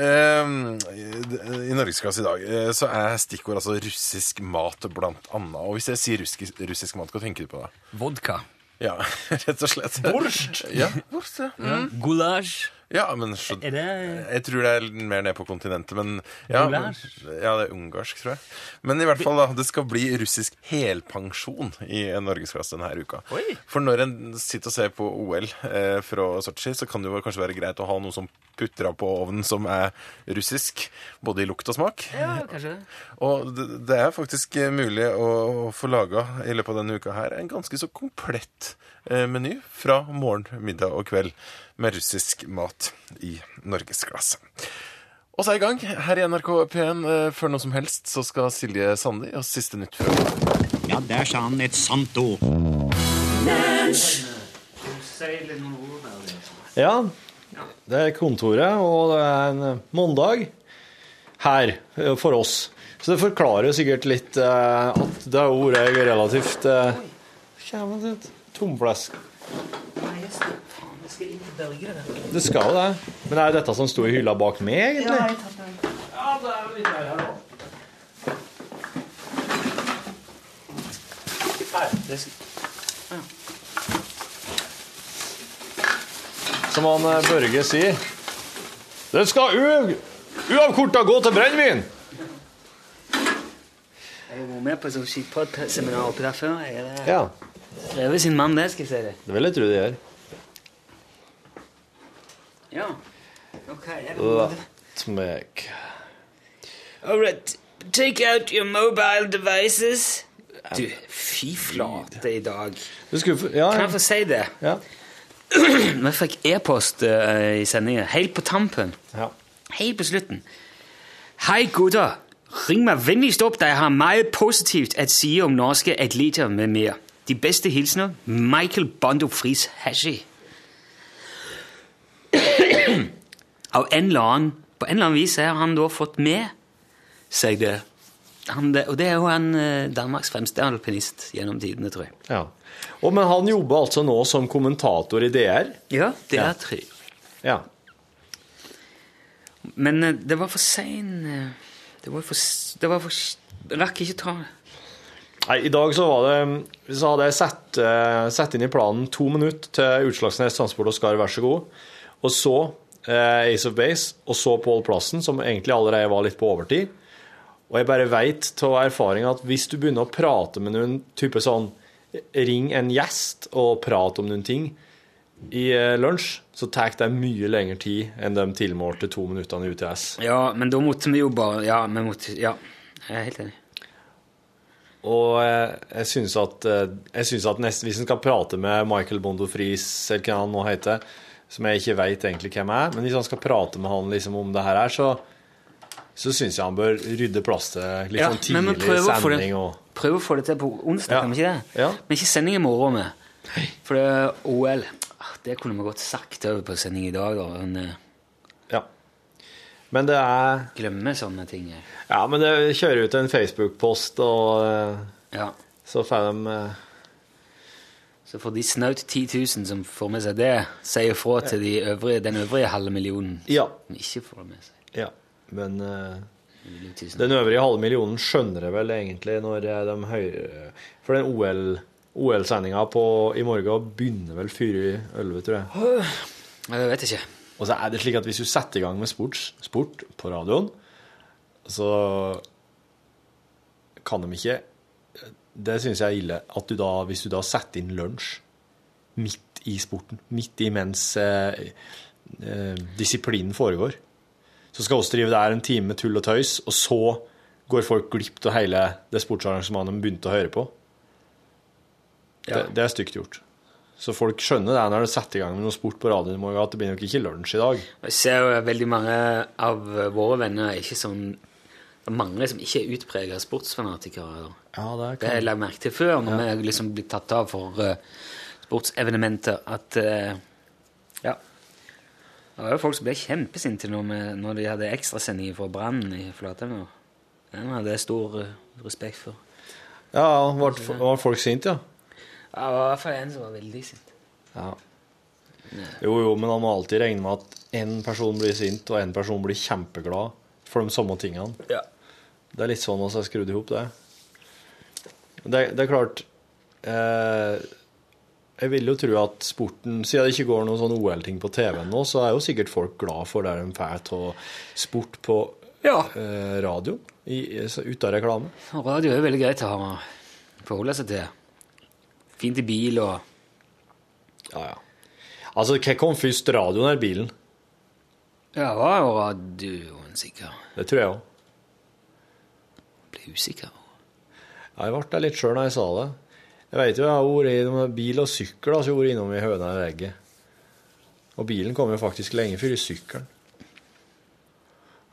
Speaker 10: ehm, i Norgesklasse i dag eh, så er stikkord altså russisk mat blant annet. Og hvis jeg sier russisk, russisk mat, hva tenker du på da?
Speaker 2: Vodka.
Speaker 10: Ja, rett og slett. Borst! Ja, borst, ja.
Speaker 2: Gulasj.
Speaker 10: ja men så,
Speaker 2: Er det
Speaker 10: jeg tror det er litt mer ned på kontinentet, men ja, men-
Speaker 2: Ungarsk?
Speaker 10: ja, det er ungarsk, tror jeg. Men i hvert fall, da. Det skal bli russisk helpensjon i en norgesklasse denne her uka.
Speaker 2: Oi.
Speaker 10: For når en sitter og ser på OL eh, fra Sotsji, så kan det jo kanskje være greit å ha noe som putter av på ovnen som er russisk, både i lukt og smak.
Speaker 2: Ja, kanskje det.
Speaker 10: Og det, det er faktisk eh, mulig å, å få laga i løpet av denne uka her en ganske så komplett eh, meny fra morgen, middag og kveld med russisk mat i norgesklasse. Og så er jeg i gang her i NRK P1. eh, Før noe som helst så skal Silje Sande gi oss siste nytt fra
Speaker 9: Ja, der sa han et sant ord.
Speaker 3: Ja, det er kontoret, og det er en mandag her eh, for oss. Så det forklarer sikkert litt eh, at det har vært relativt eh, Kjæven sitt, tomflesk. Det skal jo det. Men er det dette som sto i hylla bak meg, egentlig? Ja, det er jo litt der her òg. Som han eh, Børge sier. Det skal u- uavkorta gå til brennevin!
Speaker 2: Jeg har vært med på sånn skipoddseminar oppi der før. Jeg er
Speaker 3: Ja,
Speaker 2: drevet sin mann, det skal jeg si det.
Speaker 3: det vil jeg tro det gjør.
Speaker 2: Ja. Ok.
Speaker 3: Let meg
Speaker 2: All right. Take out your mobile devices. Du, fy flate i dag.
Speaker 3: Du skulle få- Ja,
Speaker 2: Kan
Speaker 3: ja.
Speaker 2: jeg få si det?
Speaker 3: ja.
Speaker 2: Vi fikk e-post eh, i sendingen, helt på tampen.
Speaker 3: ja.
Speaker 2: Helt på slutten. Hei, gutter. Ring meg vennligst opp, de har meget positivt at si om norske atleter med mer. De beste hilsener Michael Bondo Friis Hashi. Av en eller annen, på en eller annen vis har han da fått med seg det. Han, det og det er jo han eh, Danmarks fremste alpinist gjennom tidene, tror jeg.
Speaker 3: Ja. Og, men han jobber altså nå som kommentator i DR.
Speaker 2: Ja, det
Speaker 3: Ja.
Speaker 2: er tre.
Speaker 3: Ja.
Speaker 2: Men eh, det var for sein eh, Det var for, s- det var for s- Rakk ikke ta det.
Speaker 3: Nei, I dag så, var det, så hadde jeg satt, eh, satt inn i planen to minutter til Utslagsnes Transport og Skar, vær så god. Og så eh, Ace of Base, og så Pål Plassen, som egentlig allerede var litt på overtid. Og jeg bare veit av erfaring at hvis du begynner å prate med noen type sånn Ring en gjest og prat om noen ting i eh, lunsj, så tar det mye lengre tid enn de tilmålte to minuttene i UTS.
Speaker 2: Ja, men da måtte vi jo bare Ja, vi måtte Ja, jeg er helt enig.
Speaker 3: Og eh, jeg syns at, eh, jeg synes at nest, hvis en skal prate med Michael Bondo Friis, eller hva han nå heter, som jeg ikke veit egentlig hvem er, men hvis han skal prate med han liksom om det her, her, så, så syns jeg han bør rydde plass til litt
Speaker 2: Ja,
Speaker 3: sånn
Speaker 2: men
Speaker 3: tidlig
Speaker 2: vi prøver å få det-
Speaker 3: sending og
Speaker 2: Prøv å få det til på onsdag,
Speaker 3: Ja.
Speaker 2: kan vi ikke det?
Speaker 3: Ja.
Speaker 2: Men ikke sending i morgen. Vi. For det er OL. Ah, Det kunne vi godt sagt over på sending i dag, da. Men eh,
Speaker 3: Ja. Men det er
Speaker 2: glemme sånne ting. jeg.
Speaker 3: Ja, men det kjører ut en Facebook-post, og eh,
Speaker 2: Ja.
Speaker 3: så får de eh,
Speaker 2: Så for de snaut 10 000 som får med seg det, sier fra til de øvrige, den øvrige halve millionen
Speaker 3: Ja.
Speaker 2: som ikke får det med seg.
Speaker 3: Ja. Men eh,
Speaker 2: tusen.
Speaker 3: den øvrige halve millionen skjønner jeg vel egentlig når eh, de hører For den OL OL-sendinga i morgen begynner vel 4.11, tror jeg.
Speaker 2: Jeg vet ikke.
Speaker 3: Og så er det slik at hvis du setter i gang med sports, sport på radioen, så kan de ikke Det syns jeg er ille. At du da, hvis du da setter inn lunsj midt i sporten, midt i mens eh, eh, disiplinen foregår så skal vi drive der en time med tull og tøys, og så går folk glipp av hele det sportsarrangementet de begynte å høre på.
Speaker 2: Ja.
Speaker 3: Det, det er stygt gjort. Så folk skjønner det når du setter i gang med noe sport på radioen i morgen, at det blir nok ikke lunsj i dag.
Speaker 2: Jeg ser jo veldig mange av våre venner er ikke sånn det er mange som ikke er utprega sportsfanatikere. da.
Speaker 3: Ja, det
Speaker 2: Det har jeg lagt merke til før, når vi liksom blir tatt av for eh, sportsevenementer, at eh, Ja. Det var jo folk som ble kjempesinte når, vi- når de hadde ekstrasending fra Brann i Flatanger. Den hadde jeg stor eh, respekt for.
Speaker 3: Ja, var, var folk sinte, ja.
Speaker 2: Ja, det var i hvert fall en som var veldig sint.
Speaker 3: Ja. Jo, jo, men han må alltid regne med at én person blir sint, og én person blir kjempeglad for de samme tingene.
Speaker 2: Ja.
Speaker 3: Det er litt sånn vi er skrudd i hop, det. det. Det er klart eh, Jeg vil jo tro at sporten Siden det ikke går noen sånn OL-ting på TV-en nå, så er jo sikkert folk glad for det de får av sport på
Speaker 2: Ja.
Speaker 3: eh, radio, i- i- så- ute av reklame.
Speaker 2: Og radio er jo veldig greit å ha forholde seg til. Fint i bil og
Speaker 3: Ja, ja. Altså, hva kom først, radioen eller bilen?
Speaker 2: Ja, det var jo radioen sikkert.
Speaker 3: Det tror jeg òg.
Speaker 2: Ble usikker.
Speaker 3: Ja, jeg ble litt sjøl da jeg sa det. Jeg veit jo jeg har vært innom bil og sykkel, altså jeg har vært innom i høna og egget. Og bilen kom jo faktisk lenge før i sykkelen.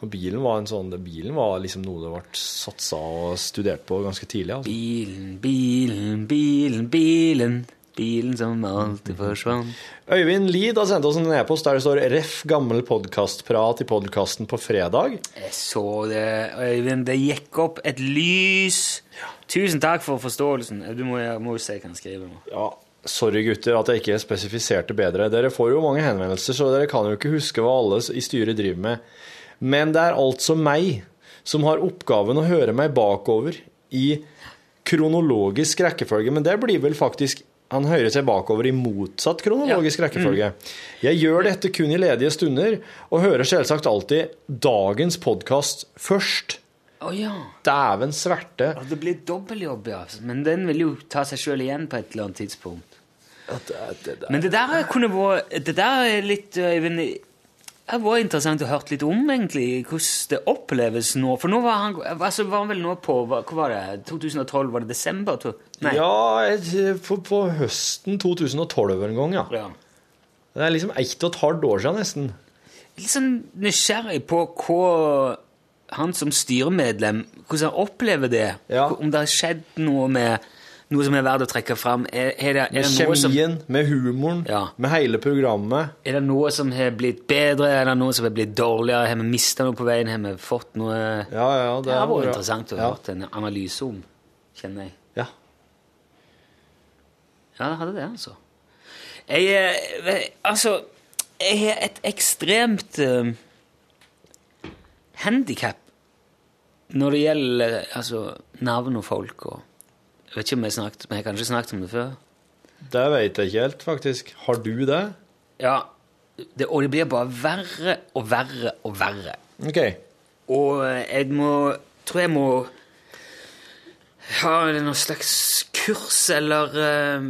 Speaker 3: Og bilen var en sånn Bilen var liksom noe det ble satsa og studert på ganske tidlig. altså.
Speaker 2: Bilen, bilen, bilen, bilen. Bilen som alltid forsvant.
Speaker 3: Øyvind Lid har sendt oss en e-post der det står 'Ref gammel podkastprat' i podkasten på fredag.
Speaker 2: Jeg så det, Øyvind. Det gikk opp et lys. Tusen takk for forståelsen. Du må jeg må jo se hva han skriver nå.
Speaker 3: Ja, sorry gutter at jeg ikke spesifiserte bedre. Dere får jo mange henvendelser, så dere kan jo ikke huske hva alle i styret driver med. Men det er altså meg som har oppgaven å høre meg bakover i kronologisk rekkefølge, men det blir vel faktisk han hører seg bakover i motsatt kronologisk rekkefølge. Jeg gjør dette kun i ledige stunder, og hører selvsagt alltid dagens podkast først.
Speaker 2: Å ja.
Speaker 3: Dæven sverte.
Speaker 2: Ja, Det blir dobbeltjobb, ja. Men den vil jo ta seg sjøl igjen på et eller annet tidspunkt. Men det der kunne vært Det der er litt eh, Øyvind Det var interessant å høre litt om, egentlig, hvordan det oppleves nå. For nå var han altså var han vel nå på Hva hva var det? 2012? Var det desember? tror jeg? Nei.
Speaker 3: Ja, jeg- på, på høsten 2012 en gang, ja.
Speaker 2: Ja.
Speaker 3: Det er liksom ett og et halvt år siden nesten.
Speaker 2: litt sånn nysgjerrig på hva han som styremedlem, hvordan han opplever det? Om det har skjedd noe med noe som er verdt å trekke fram? Er, er det, er
Speaker 3: Med
Speaker 2: det noe som,
Speaker 3: kjemien, med humoren, med hele programmet.
Speaker 2: er det noe som har blitt bedre? Er det noe som har blitt dårligere? Har vi mista noe på veien? Har vi fått noe
Speaker 3: Ja, ja,
Speaker 2: Det har vært
Speaker 3: bra.
Speaker 2: interessant å
Speaker 3: Ja.
Speaker 2: høre en analyse om, kjenner jeg.
Speaker 3: Ja.
Speaker 2: Ja, det hadde det, altså. Jeg eh, ve- Altså, jeg har et ekstremt uh, handikap når det gjelder eh, altså, navn og folk og Jeg vet ikke om jeg har snakket, men jeg har kanskje snakket om det før.
Speaker 3: Det vet jeg ikke helt, faktisk. Har du det?
Speaker 2: Ja, det, Og det blir bare verre og verre og verre.
Speaker 3: OK.
Speaker 2: Og eh, jeg må tror jeg må ha noe slags kurs eller eh,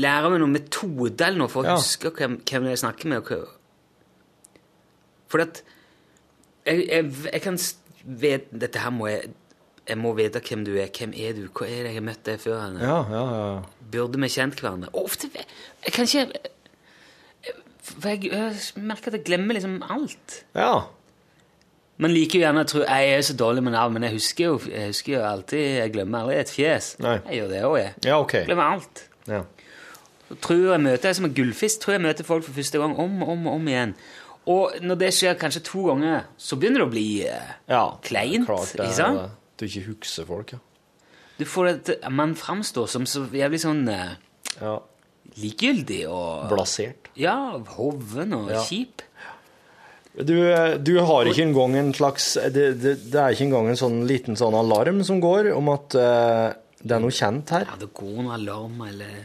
Speaker 2: lære meg noen metode eller noe for å
Speaker 3: Ja.
Speaker 2: huske hvem, hvem jeg snakker med. og hva- Fordi at jeg, jeg, jeg kan s- vet, Dette her må jeg jeg må vite hvem du er. Hvem er du? Hva er det jeg har møtt deg før? Henne?
Speaker 3: Ja, ja, ja.
Speaker 2: Burde vi kjent hverandre? Og ofte ve- Jeg kan ikke For jeg, jeg merker at jeg glemmer liksom alt.
Speaker 3: Ja.
Speaker 2: Man liker jo gjerne å tro jeg er så dårlig med navn, men jeg husker jo, jeg husker jo alltid Jeg glemmer aldri et fjes.
Speaker 3: Nei.
Speaker 2: Jeg gjør det òg, jeg.
Speaker 3: Ja, OK.
Speaker 2: Glemmer alt.
Speaker 3: Ja.
Speaker 2: Så Tror jeg møter jeg som en gullfisk. Tror jeg møter folk for første gang om og om, og om igjen. Og når det skjer kanskje to ganger, så begynner det å bli eh,
Speaker 3: ja.
Speaker 2: kleint.
Speaker 3: Klart det er
Speaker 2: ikke sant?
Speaker 3: det. Du ikke husker folk, ja.
Speaker 2: Du får det, til- man framstår som så jævlig sånn eh,
Speaker 3: ja.
Speaker 2: likegyldig og
Speaker 3: Blasert.
Speaker 2: Ja, hoven og
Speaker 3: Ja.
Speaker 2: kjip.
Speaker 3: Du, du har ikke engang en slags det, det, det er ikke engang en sånn liten sånn alarm som går om at eh, det er noe kjent her.
Speaker 2: Ja, det går noen alarmer eller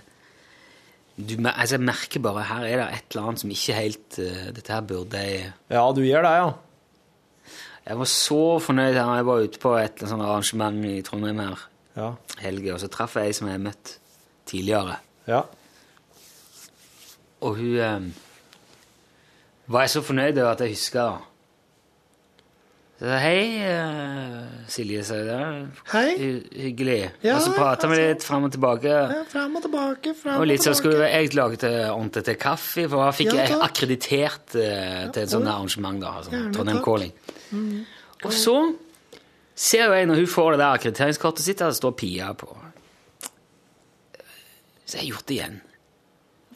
Speaker 2: du, mer- altså, Jeg merker bare her er det et eller annet som ikke helt eh, Dette her burde jeg
Speaker 3: Ja, du gjør det, ja.
Speaker 2: Jeg var så fornøyd her. Jeg var ute på et sånt arrangement i Trondheim her
Speaker 3: Ja.
Speaker 2: helga, og så traff jeg ei som jeg hadde møtt tidligere.
Speaker 3: ja.
Speaker 2: Og hun eh, var jeg så fornøyd over at jeg huska. Så jeg sa, Hei, eh, Silje, sa jeg. Det
Speaker 3: Hei.
Speaker 2: er hy- Hyggelig.
Speaker 3: Ja,
Speaker 2: og så prata vi
Speaker 3: altså.
Speaker 2: litt fram og tilbake.
Speaker 3: Fram og tilbake, fram
Speaker 2: Og litt så skulle jeg laget ordentlig til kaffe, for jeg fikk
Speaker 3: Ja,
Speaker 2: jeg
Speaker 3: takk.
Speaker 2: akkreditert eh, til et sånt arrangement, da, altså,
Speaker 3: Gjerne,
Speaker 2: Trondheim
Speaker 3: takk. Mm.
Speaker 2: Calling. Og så ser jo jeg, når hun får det der akkrediteringskortet sitt, der det står Pia på. Så jeg har gjort det igjen.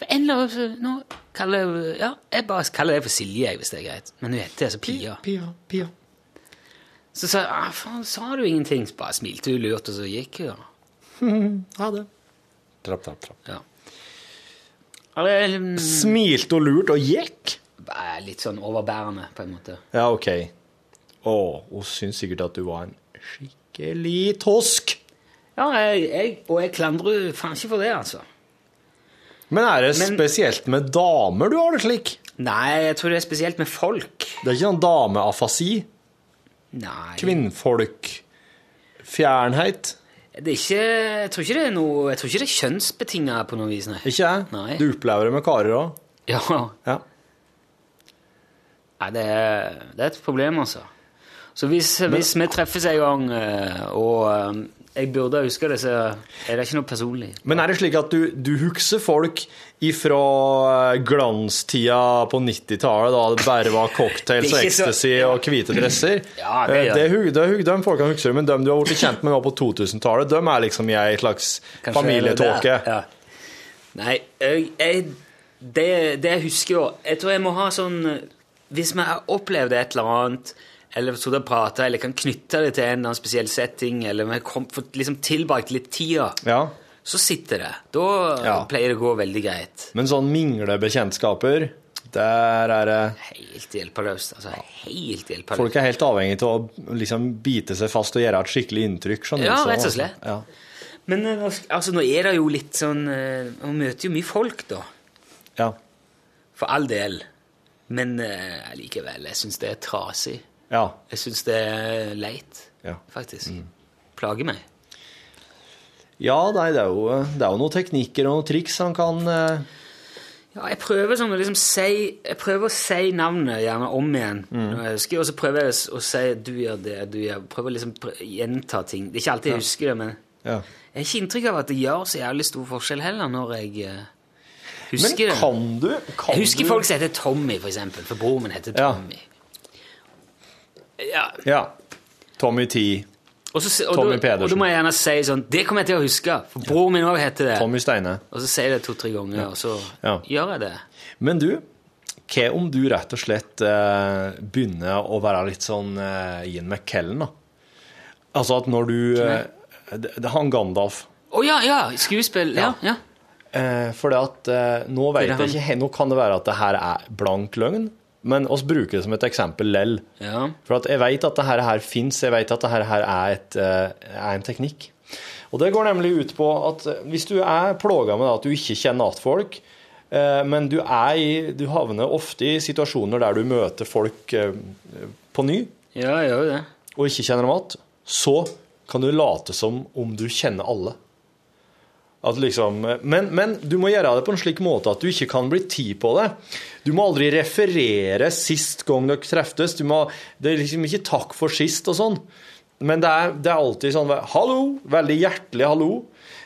Speaker 2: For En eller annen, så- nå kaller jeg, ja, jeg bare kaller deg for Silje, jeg, hvis det er greit. Men hun heter altså Pia.
Speaker 3: Pia, Pia.
Speaker 2: Så sa jeg, «Ah, faen, sa du ingenting? Så bare smilte hun lurt, og så gikk hun. da.
Speaker 3: Ha det. Trapp, trapp, trapp.
Speaker 2: Ja. Eller, mm,
Speaker 3: Smilte og lurt og gikk.
Speaker 2: er litt sånn overbærende, på en måte.
Speaker 3: Ja, OK. Å, hun syns sikkert at du var en skikkelig tosk.
Speaker 2: Ja, jeg, jeg, og jeg klandrer jo faen ikke for det, altså.
Speaker 3: Men er det
Speaker 2: Men-
Speaker 3: spesielt med damer du har det slik?
Speaker 2: Nei, jeg tror det er spesielt med folk.
Speaker 3: Det er ikke sånn dameafasi?
Speaker 2: Nei.
Speaker 3: Kvinnfolk? Fjernhet?
Speaker 2: Det er ikke, jeg tror ikke det er noe Jeg tror ikke det er kjønnsbetinga på noe vis, nei.
Speaker 3: Ikke jeg?
Speaker 2: Nei.
Speaker 3: Du opplever det med karer òg?
Speaker 2: Ja.
Speaker 3: Ja.
Speaker 2: Nei, det er, det er et problem, altså. Så hvis, hvis vi treffes en gang, eh, og eh, jeg burde huske det, så er det ikke noe personlig.
Speaker 3: Men er det slik at du, du husker folk ifra eh, glanstida på 90-tallet, da det bare var cocktails
Speaker 2: Det er
Speaker 3: og
Speaker 2: ikke så-
Speaker 3: ecstasy og hvite dresser?
Speaker 2: Ja, det gjør
Speaker 3: Eh, hu- det hu- De folkene husker du, men de du har blitt kjent med nå på 2000-tallet, de er liksom i ei slags
Speaker 2: Kanskje
Speaker 3: familietåke.
Speaker 2: det er det. Ja. Nei, jeg, jeg, det, det jeg husker jo Jeg tror jeg må ha sånn Hvis vi har opplevd et eller annet, eller stått og prata, eller kan knytte det til en eller annen spesiell setting, eller vi har kom- fått liksom tilbrakt litt tida,
Speaker 3: Ja.
Speaker 2: så sitter det. Da
Speaker 3: Ja.
Speaker 2: pleier det å gå veldig greit.
Speaker 3: Men sånn minglebekjentskaper, der er det
Speaker 2: Helt hjelpeløst. Altså, helt hjelpeløst.
Speaker 3: Folk er helt avhengig av å liksom bite seg fast og gjøre et skikkelig inntrykk. skjønner du,
Speaker 2: Ja,
Speaker 3: så-
Speaker 2: rett og slett.
Speaker 3: Ja.
Speaker 2: Men eh, nå sk- altså, nå er det jo litt sånn eh, Man møter jo mye folk, da.
Speaker 3: ja.
Speaker 2: For all del. Men eh, allikevel, jeg syns det er trasig.
Speaker 3: ja.
Speaker 2: Jeg syns det er leit,
Speaker 3: Ja. Mm.
Speaker 2: faktisk. Plager meg.
Speaker 3: Ja, nei, det er, jo, det er jo noen teknikker og noen triks han kan eh,
Speaker 2: Ja, jeg prøver sånn å liksom si Jeg prøver å si navnet gjerne om igjen.
Speaker 3: Mm.
Speaker 2: når jeg husker, Og så prøver jeg å si 'du gjør det', 'du gjør Prøver liksom pr- gjenta ting. Det er ikke alltid jeg husker det, men
Speaker 3: ja.
Speaker 2: jeg har ikke inntrykk av at det gjør så jævlig stor forskjell heller, når jeg eh,
Speaker 3: Men
Speaker 2: husker det.
Speaker 3: kan du kan
Speaker 2: Jeg husker
Speaker 3: du,
Speaker 2: folk som heter Tommy, for eksempel. For broren min heter
Speaker 3: Ja.
Speaker 2: Tommy. Ja.
Speaker 3: Ja. Tommy T.
Speaker 2: Og så, og
Speaker 3: Tommy
Speaker 2: da- Og da
Speaker 3: Pedersen.
Speaker 2: må jeg gjerne si sånn Det kommer jeg til å huske, for bror min òg heter det.
Speaker 3: Tommy Steine.
Speaker 2: Og så sier jeg det to-tre ganger, og så
Speaker 3: Ja.
Speaker 2: gjør jeg det.
Speaker 3: Men du, hva om du rett og slett eh, begynner å være litt sånn eh, Ian McKellen, da? Altså at når du eh, det, det, Han Gandalf.
Speaker 2: Å ja, ja! Skuespill. Ja. ja.
Speaker 3: Eh, for det at eh, nå vet
Speaker 2: Det er
Speaker 3: jeg ikke he- Nå kan det være at det her er blank løgn, men oss bruker det som et eksempel lell.
Speaker 2: Ja.
Speaker 3: For at jeg vet at det her, her fins, jeg vet at det her, her er, et, eh, er en teknikk. Og det går nemlig ut på at eh, hvis du er plaga med at du ikke kjenner igjen folk, eh, men du, er i, du havner ofte i situasjoner der du møter folk eh, på ny,
Speaker 2: Ja, jeg gjør jo det.
Speaker 3: og ikke kjenner dem igjen, så kan du late som om du kjenner alle. At liksom, men, men du må gjøre det på en slik måte at du ikke kan bli tid på det. Du må aldri referere sist gang dere treftes. Du må, det er liksom ikke 'takk for sist' og sånn. Men det er, det er alltid sånn 'hallo', veldig hjertelig 'hallo'.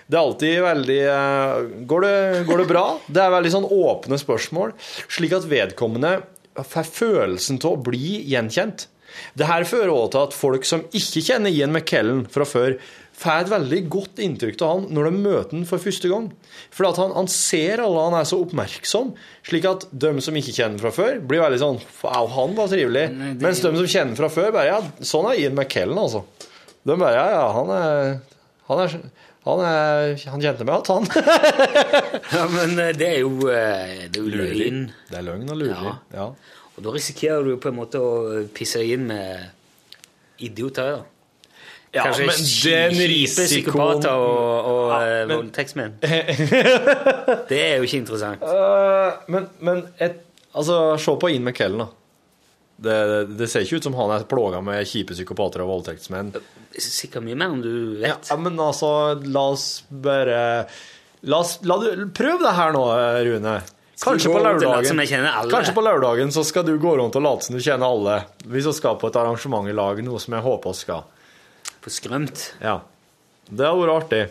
Speaker 3: Det er alltid veldig eh, går det, 'Går det bra?' Det er veldig sånn åpne spørsmål, slik at vedkommende får følelsen av å bli gjenkjent. Det her fører også til at folk som ikke kjenner Ian McKellen fra før, får et veldig godt inntrykk av han når de møter han for første gang. For at han, han ser alle, han er så oppmerksom, slik at de som ikke kjenner han fra før, blir veldig sånn Au, han var trivelig. Mens de som kjenner han fra før, bare Ja, sånn er Ian McKellen, altså. De bare Ja, ja, han er Han er han, er, han kjente meg igjen, han.
Speaker 2: Ja, Men eh, det er jo, eh, det er jo løgn.
Speaker 3: Det er løgn og lureri. Ja.
Speaker 2: Og da risikerer du på en måte å eh, pisse deg inn med idioter. da.
Speaker 3: Ja,
Speaker 2: Kanskje
Speaker 3: men
Speaker 2: kji-
Speaker 3: den
Speaker 2: kjipe
Speaker 3: risikoen-
Speaker 2: psykopater og, og eh,
Speaker 3: men-
Speaker 2: voldtektsmenn. Det er jo ikke interessant.
Speaker 3: Eh, men men et, altså, se på Ian McKellen, da. Det, det, det ser ikke ut som han er plaga med kjipe psykopater og voldtektsmenn.
Speaker 2: Sikkert mye mer enn du vet.
Speaker 3: Ja, men altså, la oss bare La oss la du, Prøv det her nå, Rune.
Speaker 2: Skal vi
Speaker 3: Kanskje
Speaker 2: gå
Speaker 3: på,
Speaker 2: rundt og late som
Speaker 3: lørdagen,
Speaker 2: jeg kjenner alle?
Speaker 3: kanskje på lørdagen så skal du gå rundt og late som du kjenner alle. Hvis vi skal på et arrangement i lag, noe som jeg håper vi skal.
Speaker 2: På skrømt.
Speaker 3: Ja. Det hadde vært artig.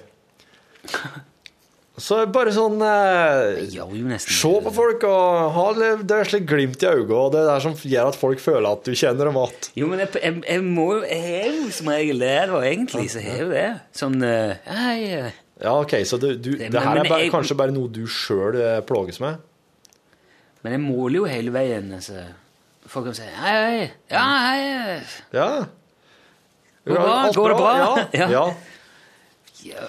Speaker 3: Så bare sånn eh,
Speaker 2: Jeg gjør jo nesten
Speaker 3: Se på folk og ha det det er slik glimt i øynene, og det er det som gjør at folk føler at du kjenner dem igjen.
Speaker 2: Jo, men jeg, jeg, jeg må jo Jeg er jo som regel der, og egentlig så er jo det. Sånn eh, Hei eh,
Speaker 3: Ja, OK, så det, du, det,
Speaker 2: men-
Speaker 3: her
Speaker 2: men
Speaker 3: er bare,
Speaker 2: jeg-
Speaker 3: kanskje bare noe du sjøl plages med?
Speaker 2: Men jeg måler jo hele veien. Altså. Folk kan si hei, hei. Ja, hei. eh.
Speaker 3: Ja.
Speaker 2: Går det bra?
Speaker 3: Alt
Speaker 2: Går det bra?
Speaker 3: Ja.
Speaker 2: Ja.
Speaker 3: ja.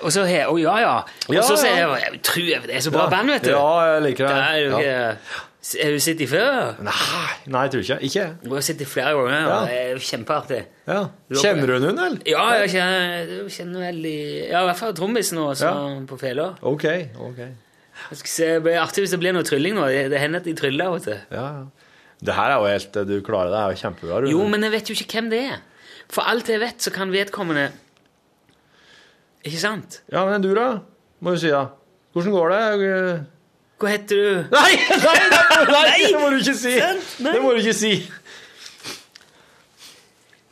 Speaker 2: Og så he, Å, ja, ja. Og
Speaker 3: Ja,
Speaker 2: så sier
Speaker 3: ja.
Speaker 2: jeg jeg tror jeg, Det er så bra
Speaker 3: Ja.
Speaker 2: band, vet du.
Speaker 3: Ja, jeg liker
Speaker 2: Det er
Speaker 3: det.
Speaker 2: jo
Speaker 3: Ja.
Speaker 2: ikke Har du sett dem før?
Speaker 3: Nei, nei, jeg tror ikke Ikke?
Speaker 2: Du har sett dem flere ganger,
Speaker 3: Ja.
Speaker 2: og det er jo kjempeartig.
Speaker 3: Ja. Kjenner du noen, eller?
Speaker 2: Ja, jeg kjenner, jeg kjenner veldig Ja, i hvert fall trommisen og sånn på fela.
Speaker 3: OK. ok.
Speaker 2: Jeg skal se, Det blir artig hvis det blir noe trylling nå. Det det hender at de tryller. Vet du.
Speaker 3: Ja, ja. Det her er jo helt Du klarer det, det er jo kjempebra. Rune.
Speaker 2: Jo, men jeg vet jo ikke hvem det er. For alt jeg vet, så kan vedkommende Ikke sant?
Speaker 3: Ja, men du, da? Må du si, da. Hvordan går det?
Speaker 2: Hva heter du?
Speaker 3: Nei, nei, nei, nei, det må du ikke si!
Speaker 2: Sant? Nei.
Speaker 3: Det må du ikke si.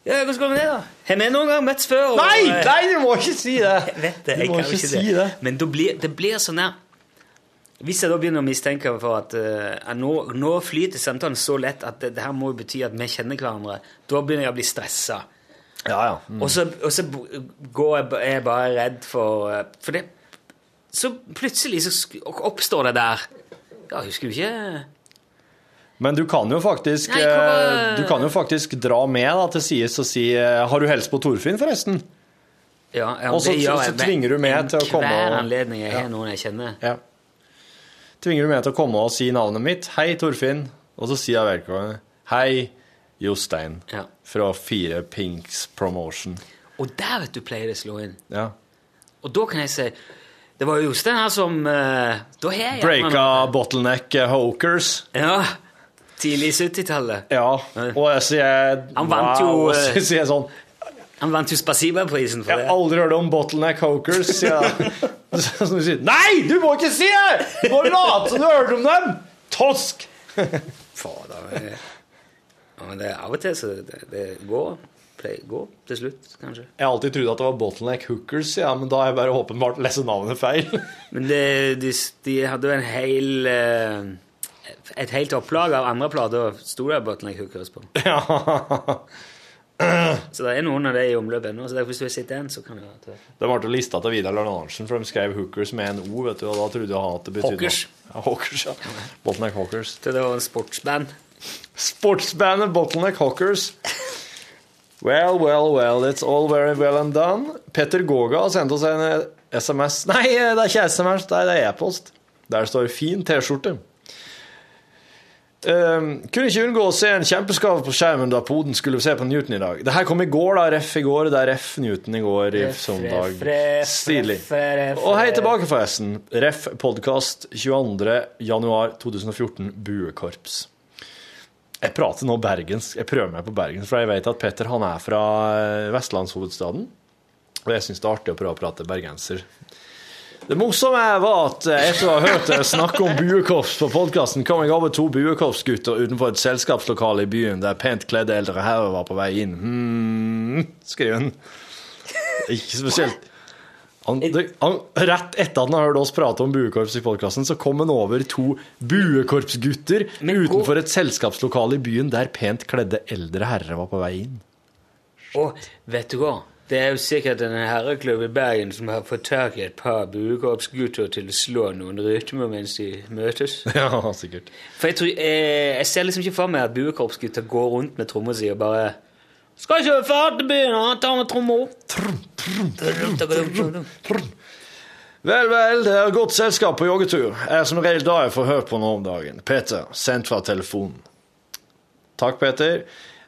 Speaker 2: Ja, hvordan går det med det, da? Har vi noen gang møttes før? og-
Speaker 3: Nei, nei, du må ikke si
Speaker 2: Jeg
Speaker 3: det!
Speaker 2: vet det,
Speaker 3: Du
Speaker 2: jeg
Speaker 3: må
Speaker 2: kan jo
Speaker 3: ikke
Speaker 2: ikke
Speaker 3: si det.
Speaker 2: Men da blir, det blir sånn der Hvis jeg da begynner å mistenke for at eh, at nå, nå flyter samtalen så lett at det, det her må jo bety at vi kjenner hverandre, da begynner jeg å bli stressa.
Speaker 3: Ja, ja. Mm.
Speaker 2: Og så, og så b- går jeg, ba- er jeg bare redd for eh, For det Så plutselig så sk- oppstår det der Ja, jeg husker jo ikke
Speaker 3: Men du kan jo faktisk
Speaker 2: Nei, hva-
Speaker 3: eh, Du kan jo faktisk dra med da, til sides og si eh, Har du helst på Torfinn, forresten?
Speaker 2: ja, ja,
Speaker 3: Og så-
Speaker 2: det gjør
Speaker 3: så- så
Speaker 2: jeg ved
Speaker 3: tvinger du meg til å komme
Speaker 2: Hver
Speaker 3: og-
Speaker 2: anledning jeg har noen jeg kjenner.
Speaker 3: Ja. Tvinger du meg til å komme og si navnet mitt? Hei, Torfinn. Og så sier jeg velkommen. Hei, Jostein.
Speaker 2: Ja.
Speaker 3: Fra Fire Pinks Promotion.
Speaker 2: Og der, vet du, pleier det å slå inn.
Speaker 3: Ja.
Speaker 2: Og da kan jeg si Det var jo Jostein her som eh, Da har jeg
Speaker 3: Breaka bottleneck eh, hokers.
Speaker 2: Ja. Tidlig 70-tallet.
Speaker 3: Ja. Og jeg sier
Speaker 2: Han vant jo,
Speaker 3: wow, og
Speaker 2: eh,
Speaker 3: så sier jeg sånn
Speaker 2: Han vant jo Spasiba-prisen for
Speaker 3: Jeg
Speaker 2: det.
Speaker 3: har aldri hørt om bottleneck hokers, sier jeg. Så du sier Nei, du må ikke si det! Du må late som du hørte om dem! Tosk!
Speaker 2: Fader. eh. Ja, men det er av og til så det, det går. Play, går til slutt, kanskje.
Speaker 3: Jeg har alltid trodd at det var bottleneck hookers, ja, men da har jeg bare åpenbart lest navnet feil.
Speaker 2: Men det, de, de hadde jo en hel eh, Et helt opplag av andre plater sto det Bottleneck Hookers på.
Speaker 3: Ja.
Speaker 2: Så det er noen av det i omløpet ennå. Så derfor, hvis du har sett den, så kan det være at det-
Speaker 3: Det ble lista til Vidar Lørnarsen, for de skrev 'hookers' med en O, vet du, og da trodde jeg at det betydde
Speaker 2: Hawkers.
Speaker 3: noe. Ja, Hawkers, ja. Bottleneck Hawkers.
Speaker 2: Det var en sportsband.
Speaker 3: Sportsbandet Bottleneck Hawkers. Well, well, well, it's all very well and done. Petter Gåga har sendt oss en eh, SMS Nei, eh, det er ikke SMS, det er e-post. Der står 'fin T-skjorte'. Ehm, kunne ikke unngå å se en kjempeskade på skjermen da poden skulle se på Newton i dag. Det her kom i går, da. Ref i går. Det er Ref Newton i går i
Speaker 2: Ref,
Speaker 3: søndag.
Speaker 2: ref, ref,
Speaker 3: Stilig.
Speaker 2: ref, ref, eh,
Speaker 3: Og hei
Speaker 2: ref.
Speaker 3: tilbake, forresten. Ref podkast 22.1.2014, Buekorps. Jeg prater nå bergensk. Jeg prøver meg på bergensk, for jeg vet at Petter han er fra eh, vestlandshovedstaden. Og jeg syns det er artig å prøve å prate bergenser. Det morsomme er var at eh, etter å ha hørt dere snakke om buekorps på podkasten, kom jeg over to buekorpsgutter utenfor et selskapslokale i byen der pent kledde eldre herrer var på vei inn. Hmm, skriver han. Ikke spesielt. Han, det, han, rett etter at han har hørt oss prate om buekorps i podkasten, så kom han over to buekorpsgutter utenfor et selskapslokale i byen der pent kledde eldre herrer var på vei inn.
Speaker 2: Og vet du hva? Det er jo sikkert en herreklubb i Bergen som har fått tak i et par buekorpsgutter til å slå noen rytmer mens de møtes.
Speaker 3: Ja, sikkert.
Speaker 2: For jeg, tror, eh, jeg ser liksom ikke for meg at buekorpsgutter går rundt med trommer si og bare Skal ikke være ferdig til byen, han tar med trommer opp.
Speaker 3: Vel, vel, det er godt selskap på joggetur. Jeg er som regel da jeg får hørt på noe om dagen. Peter, sendt fra telefonen. Takk, Peter.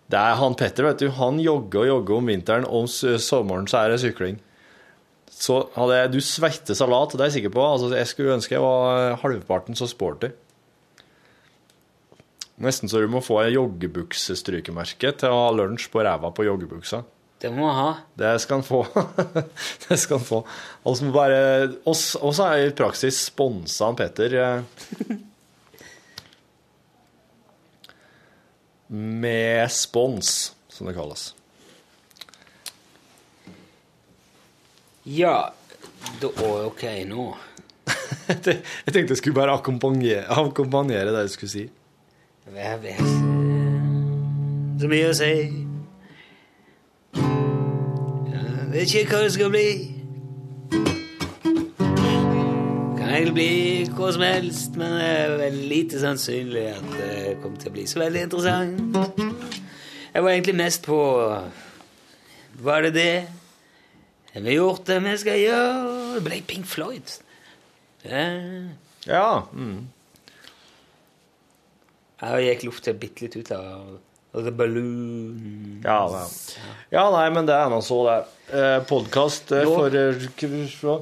Speaker 3: Det er han Petter, vet du. Han jogger og jogger om vinteren. Om s- sommeren så er det sykling. Så hadde jeg Du svetter salat, det er jeg sikker på. Altså, jeg skulle ønske jeg var eh, halvparten så sporty. Nesten så du må få ei joggebukse-strykemerke til å ha lunsj på ræva på joggebuksa.
Speaker 2: Det må han ha.
Speaker 3: Det skal han få. det skal han få. Og så må bare oss, oss er i praksis sponsa han Petter eh, med spons, som det kalles.
Speaker 2: Ja da, å, Ok, nå.
Speaker 3: Jeg tenkte jeg skulle bare akkompagnere, akkompagnere det du skulle si.
Speaker 2: Jeg vet ikke så mye å si. Jeg vet ikke hva det skal bli. Kan egentlig bli hva som helst, men det er vel lite sannsynlig at det kommer til å bli så veldig interessant. Jeg var egentlig mest på Var det det? Har vi gjort det vi skal gjøre? Det ble Pink Floyd. Ja.
Speaker 3: Ja.
Speaker 2: Jeg gikk lufta bitte litt ut av av The Balloon.
Speaker 3: Ja, ja. ja, nei, men det er nå så, det. Eh, Podkast eh,
Speaker 2: Nå-
Speaker 3: for eh, k- fra-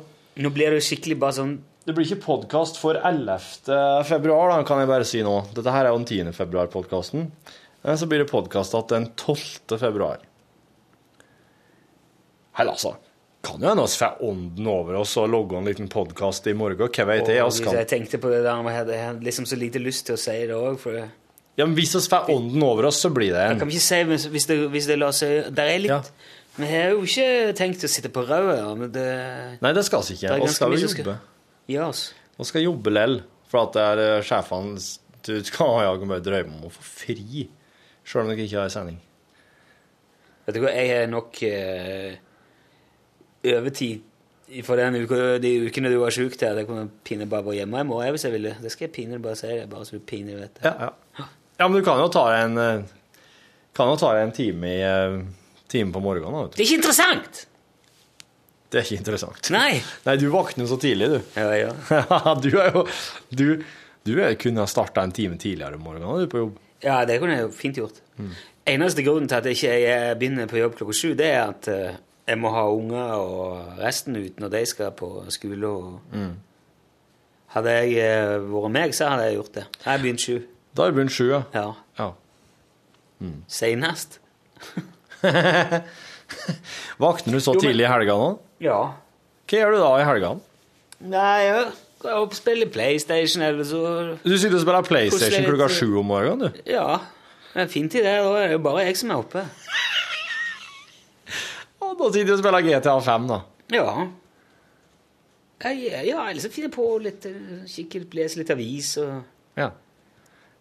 Speaker 2: Nå blir det jo skikkelig bare sånn
Speaker 3: Det blir ikke podkast for 11. februar, da, kan jeg bare si nå. Dette her er jo den 10. februar-podkasten. Eh, Så blir det podkast den 12. februar. Hei, altså. Kan jo hende vi får ånden over oss og logge en liten podkast i morgen. Hva vet jeg?
Speaker 2: Og
Speaker 3: oss
Speaker 2: hvis
Speaker 3: kan-
Speaker 2: jeg tenkte på det der med at jeg hadde liksom så lite lyst til å si det òg, for jeg
Speaker 3: Ja, men hvis vi får ånden over oss, så blir det en
Speaker 2: kan ikke si hvis- hvis det, hvis det lar seg Der er litt Men jeg har jo ikke tenkt å sitte på røret, ja, men det
Speaker 3: Nei, det skal vi
Speaker 2: Det er
Speaker 3: ikke. Vi
Speaker 2: ganske
Speaker 3: skal
Speaker 2: mye
Speaker 3: jo
Speaker 2: som skal-
Speaker 3: jobbe.
Speaker 2: Ja, altså.
Speaker 3: Vi skal jobbe lell, for at det er eh, sjefene s- Du skal jo ikke bare drømme om å få fri, sjøl om dere ikke har sending.
Speaker 2: Vet du hva, jeg har nok eh, overtid for den uka, de ukene du var sjuk til. Det kunne jeg pinlig bare vært hjemme i morgen hvis jeg ville. Det skal jeg pinlig bare si. Det er bare så du pinlig vet det.
Speaker 3: Ja, ja. ja, men du kan jo ta deg en eh, Kan jo ta deg en time, i, eh, time på morgenen. da, Vet du.
Speaker 2: Det er ikke interessant!
Speaker 3: Det er ikke interessant.
Speaker 2: Nei!
Speaker 3: Nei, du våkner jo så tidlig, du.
Speaker 2: Ja, ja.
Speaker 3: du er jo Du, du er, kunne ha starta en time tidligere om morgenen du på jobb.
Speaker 2: Ja, det kunne jeg jo fint gjort. Eneste grunnen til at jeg ikke jeg begynner på jobb klokka sju, det er at eh, jeg må ha unger og resten ut når de skal på skole. Og hadde jeg eh, vært meg, så hadde jeg gjort det. Jeg begynte sju.
Speaker 3: Da er det begynt sju, ja.
Speaker 2: Ja.
Speaker 3: ja.
Speaker 2: Seinest.
Speaker 3: Våkner du så
Speaker 2: Jo, men-
Speaker 3: tidlig i helga nå?
Speaker 2: Ja.
Speaker 3: Hva gjør du da i helgene?
Speaker 2: Nei, jeg går opp og spiller PlayStation, eller så
Speaker 3: Du sitter og spiller PlayStation
Speaker 2: Hvordan er
Speaker 3: klokka
Speaker 2: det-
Speaker 3: sju om morgenen, du.
Speaker 2: Ja. Det er fint i det. Da er det jo bare jeg som er oppe.
Speaker 3: Og da sitter du og spiller GTA5, da.
Speaker 2: Ja. Jeg, ja, eller så finner jeg på litt eh, Kikker, leser litt avis og
Speaker 3: Ja.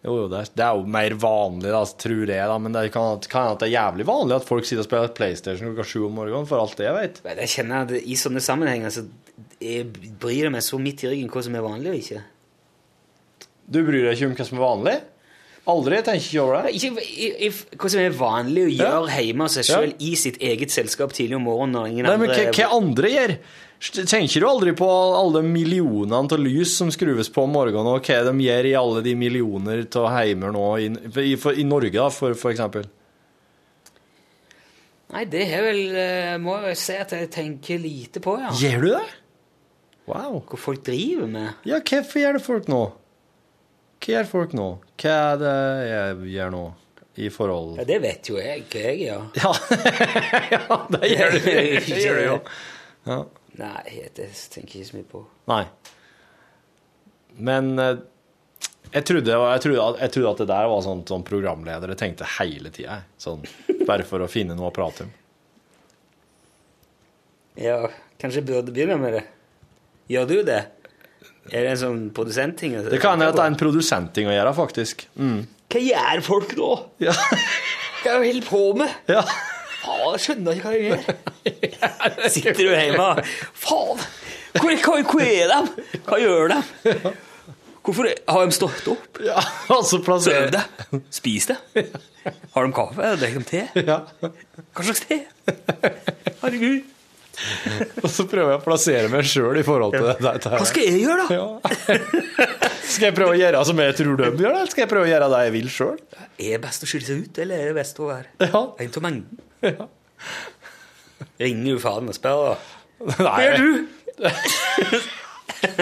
Speaker 3: Jo, jo, det er, det er jo mer vanlig, da, tror jeg, da, men det kan kan hende at det er jævlig vanlig at folk sitter og spiller PlayStation klokka sju om morgenen, for alt det jeg vet.
Speaker 2: Jeg kjenner at i sånne sammenhenger så jeg bryr jeg meg så midt i ryggen hva som er vanlig og ikke.
Speaker 3: Du bryr deg ikke om hva som er vanlig? Aldri? Tenker ikke over det?
Speaker 2: Ikke i- i- hva som er vanlig å gjøre hjemme av seg sjøl i sitt eget selskap tidlig om morgenen når ingen
Speaker 3: Nei, men
Speaker 2: andre
Speaker 3: hva, hva andre gjør? Tenker du aldri på alle de millionene av lys som skrues på om morgenen, og hva de gjør i alle de millioner av heimer nå, i, i, for, i Norge da, for, for eksempel?
Speaker 2: Nei, det er vel, eh, må jeg vel si at jeg tenker lite på, ja.
Speaker 3: Gjør du det? Wow.
Speaker 2: Hva folk driver med.
Speaker 3: Ja, hvorfor gjør det folk nå? Hva gjør folk nå? Hva er det jeg gjør nå i forhold
Speaker 2: Ja, Det vet jo jeg, hva jeg gjør.
Speaker 3: Ja, det gjør du. Det gjør du jo. Ja.
Speaker 2: Nei, jeg det tenker ikke så mye på.
Speaker 3: Nei. Men eh, jeg trodde, jeg, trodde at, jeg trodde at det der var sånn som programledere tenkte hele tida. Sånn, bare for å finne noe å prate om.
Speaker 2: Ja, kanskje jeg burde begynne med det. Gjør du det? Er det en sånn produsentting?
Speaker 3: Det kan hende at det er en produsentting å gjøre, faktisk. Mm.
Speaker 2: Hva gjør folk nå? Hva er de holder på med?
Speaker 3: Ja.
Speaker 2: Faen, jeg skjønner ikke hva de gjør. Sitter du hjemme og Faen! Hvor, hvor, hvor er de? Hva gjør de? Hvorfor har de stått opp?
Speaker 3: Ja, altså
Speaker 2: Sovet
Speaker 3: plasserer
Speaker 2: de? Spist de? Har de kaffe? Drikker de te?
Speaker 3: Ja.
Speaker 2: Hva slags te? Herregud.
Speaker 3: Og så prøver jeg å plassere meg sjøl i forhold til det. dette her.
Speaker 2: Hva skal jeg gjøre, da?
Speaker 3: Skal jeg prøve å gjøre som jeg tror de gjør, eller skal jeg prøve å gjøre det jeg vil sjøl?
Speaker 2: Er det best å skille seg ut, eller er det best å være
Speaker 3: Ja.
Speaker 2: en av mengden? Ringer jo faren og spør, da.
Speaker 3: Nei.
Speaker 2: Hva gjør du?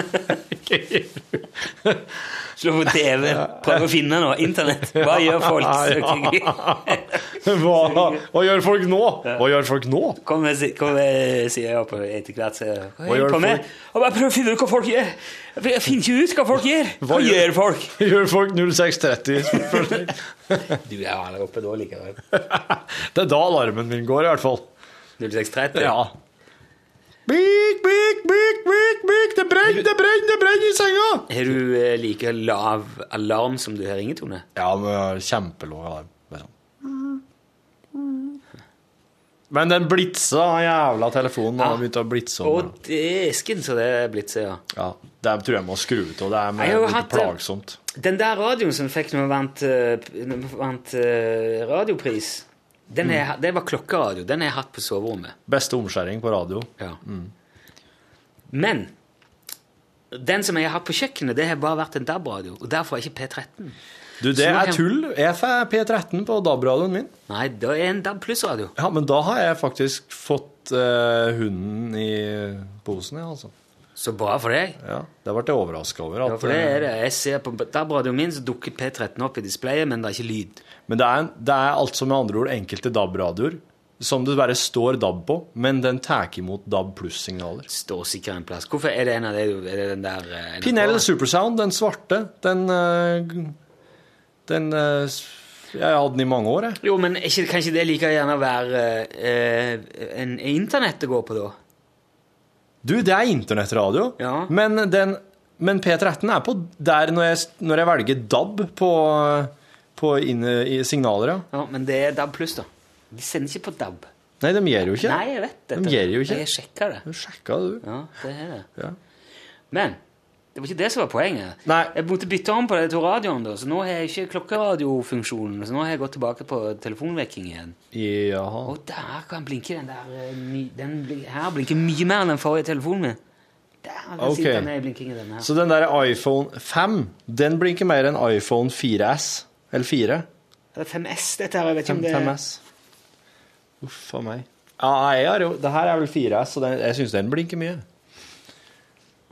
Speaker 2: Slå på TV, prøve å finne noe. Internett. Hva gjør folk?
Speaker 3: Hva, hva gjør folk nå? Hva gjør folk nå?
Speaker 2: Kom med, si- kom med, sier jeg på etter hvert. Så, hva
Speaker 3: gjør
Speaker 2: gjør folk?
Speaker 3: folk?
Speaker 2: Med? Og bare prøv å finne ut hva folk gjør. Jeg finner ikke ut hva folk gjør. Hva,
Speaker 3: gjør-
Speaker 2: gjør folk?
Speaker 3: Gjør folk 0630?
Speaker 2: Du er her oppe da likevel.
Speaker 3: Det er da alarmen min går, i hvert fall.
Speaker 2: 0630.
Speaker 3: Ja. Bik, bik, bik, bik, bik. Det brenner, det brenner, det brenner i senga!
Speaker 2: Har du eh, like lav alarm som du har ringetone?
Speaker 3: Ja, men jeg har kjempelåg alarm. liksom.
Speaker 2: Mm.
Speaker 3: Men den blitsa, den jævla telefonen, den har begynt å blitse om.
Speaker 2: Og dæsken, så det er blitt seg, ja.
Speaker 3: Ja, det tror jeg må skru ut, og det er
Speaker 2: Jeg har jo
Speaker 3: litt
Speaker 2: hatt det.
Speaker 3: plagsomt.
Speaker 2: Den der radioen som fikk når vi vant, eh, p- når vi vant eh, radiopris, den har jeg hatt- det var klokkeradio. Den har jeg hatt på soverommet.
Speaker 3: Beste omskjæring på radio.
Speaker 2: Ja. Men den som jeg har hatt på kjøkkenet, det har bare vært en DAB-radio. Og derfor er ikke P13.
Speaker 3: Du, det
Speaker 2: Så nå
Speaker 3: er
Speaker 2: kan-
Speaker 3: tull. Jeg får P13 på DAB-radioen min.
Speaker 2: Nei, det er en DAB pluss-radio.
Speaker 3: Ja, men da har jeg faktisk fått eh, hunden i posen, ja, altså.
Speaker 2: Så bra for deg.
Speaker 3: Ja, det ble jeg overraska over.
Speaker 2: Ja,
Speaker 3: At,
Speaker 2: for det
Speaker 3: eh,
Speaker 2: er det. Jeg ser på DAB-radioen min, så dukker P13 opp i displayet, men det er ikke lyd.
Speaker 3: eh, Men det er, en- det er altså med andre ord enkelte DAB-radioer som det bare står DAB på, men den tar imot DAB pluss-signaler.
Speaker 2: Står sikkert en plass. Hvorfor er det en av de Er det den der eh, NRK?
Speaker 3: Pinell Supersound, den svarte, den eh, Den eh, s- Jeg hadde den i mange år, jeg.
Speaker 2: Jo, men er ikke, kan ikke det like gjerne være eh, en er internett det går på, da?
Speaker 3: Du, det er internettradio,
Speaker 2: Ja.
Speaker 3: men, den, men P13 er på der når jeg, når jeg velger DAB på, på inn, i signaler, ja.
Speaker 2: Ja, Men det er DAB pluss, da. De sender ikke på DAB.
Speaker 3: Nei, de gjør jo ikke det.
Speaker 2: Nei, jeg vet dette.
Speaker 3: De gjør jo ikke.
Speaker 2: Jeg sjekka det.
Speaker 3: Du sjekka, du.
Speaker 2: Ja, det er det.
Speaker 3: Ja.
Speaker 2: Men det var ikke det som var poenget.
Speaker 3: Nei.
Speaker 2: Jeg måtte bytte om på de to radioene, da, så nå har jeg ikke klokkeradiofunksjonen. Så nå har jeg gått tilbake på telefonvekking igjen.
Speaker 3: Jaha.
Speaker 2: Og der kan blinke den der eh, ny, den, bli- Her blinker mye mer enn den forrige telefonen min. Der kan
Speaker 3: Ok.
Speaker 2: sitte ned i blinkingen den her.
Speaker 3: Så den der iPhone 5, den blinker mer enn iPhone 4S. Eller 4.
Speaker 2: Det er 5S, dette her. Jeg vet ikke om det
Speaker 3: 5S. Uff a meg. Ja, jeg har jo Det her er vel 4S, så den, jeg syns den blinker mye.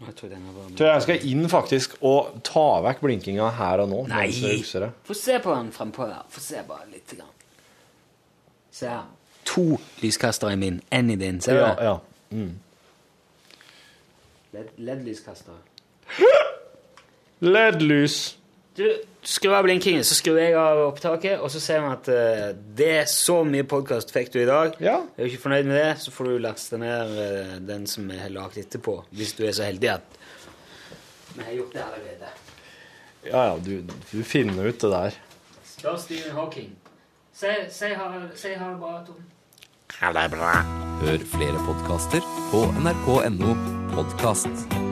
Speaker 2: Jeg tror den var
Speaker 3: Tror jeg jeg skal inn faktisk og ta vekk blinkinga her og nå. mens jeg
Speaker 2: Nei!
Speaker 3: husker det.
Speaker 2: Få se på den frempå der. Få se bare litt. Grann. Se her. To lyskastere i min, én i din. Ser du
Speaker 3: Ja,
Speaker 2: det?
Speaker 3: ja.
Speaker 2: Led- LED-lyskastere.
Speaker 3: LED-lys.
Speaker 2: Du, skru av blinkingen, så skrur jeg av opptaket, og så ser vi at eh, det er så mye podkast fikk du i dag.
Speaker 3: Ja.
Speaker 2: Er du ikke fornøyd med det, så får du laste ned eh, den som vi har lagd etterpå, hvis du er så heldig at vi har gjort det allerede.
Speaker 3: Ja, ja, du, du finner ut det der.
Speaker 2: Spør Stephen Hawking. Si ha det bra, Tom.
Speaker 4: Hør flere podkaster på nrk.no podkast.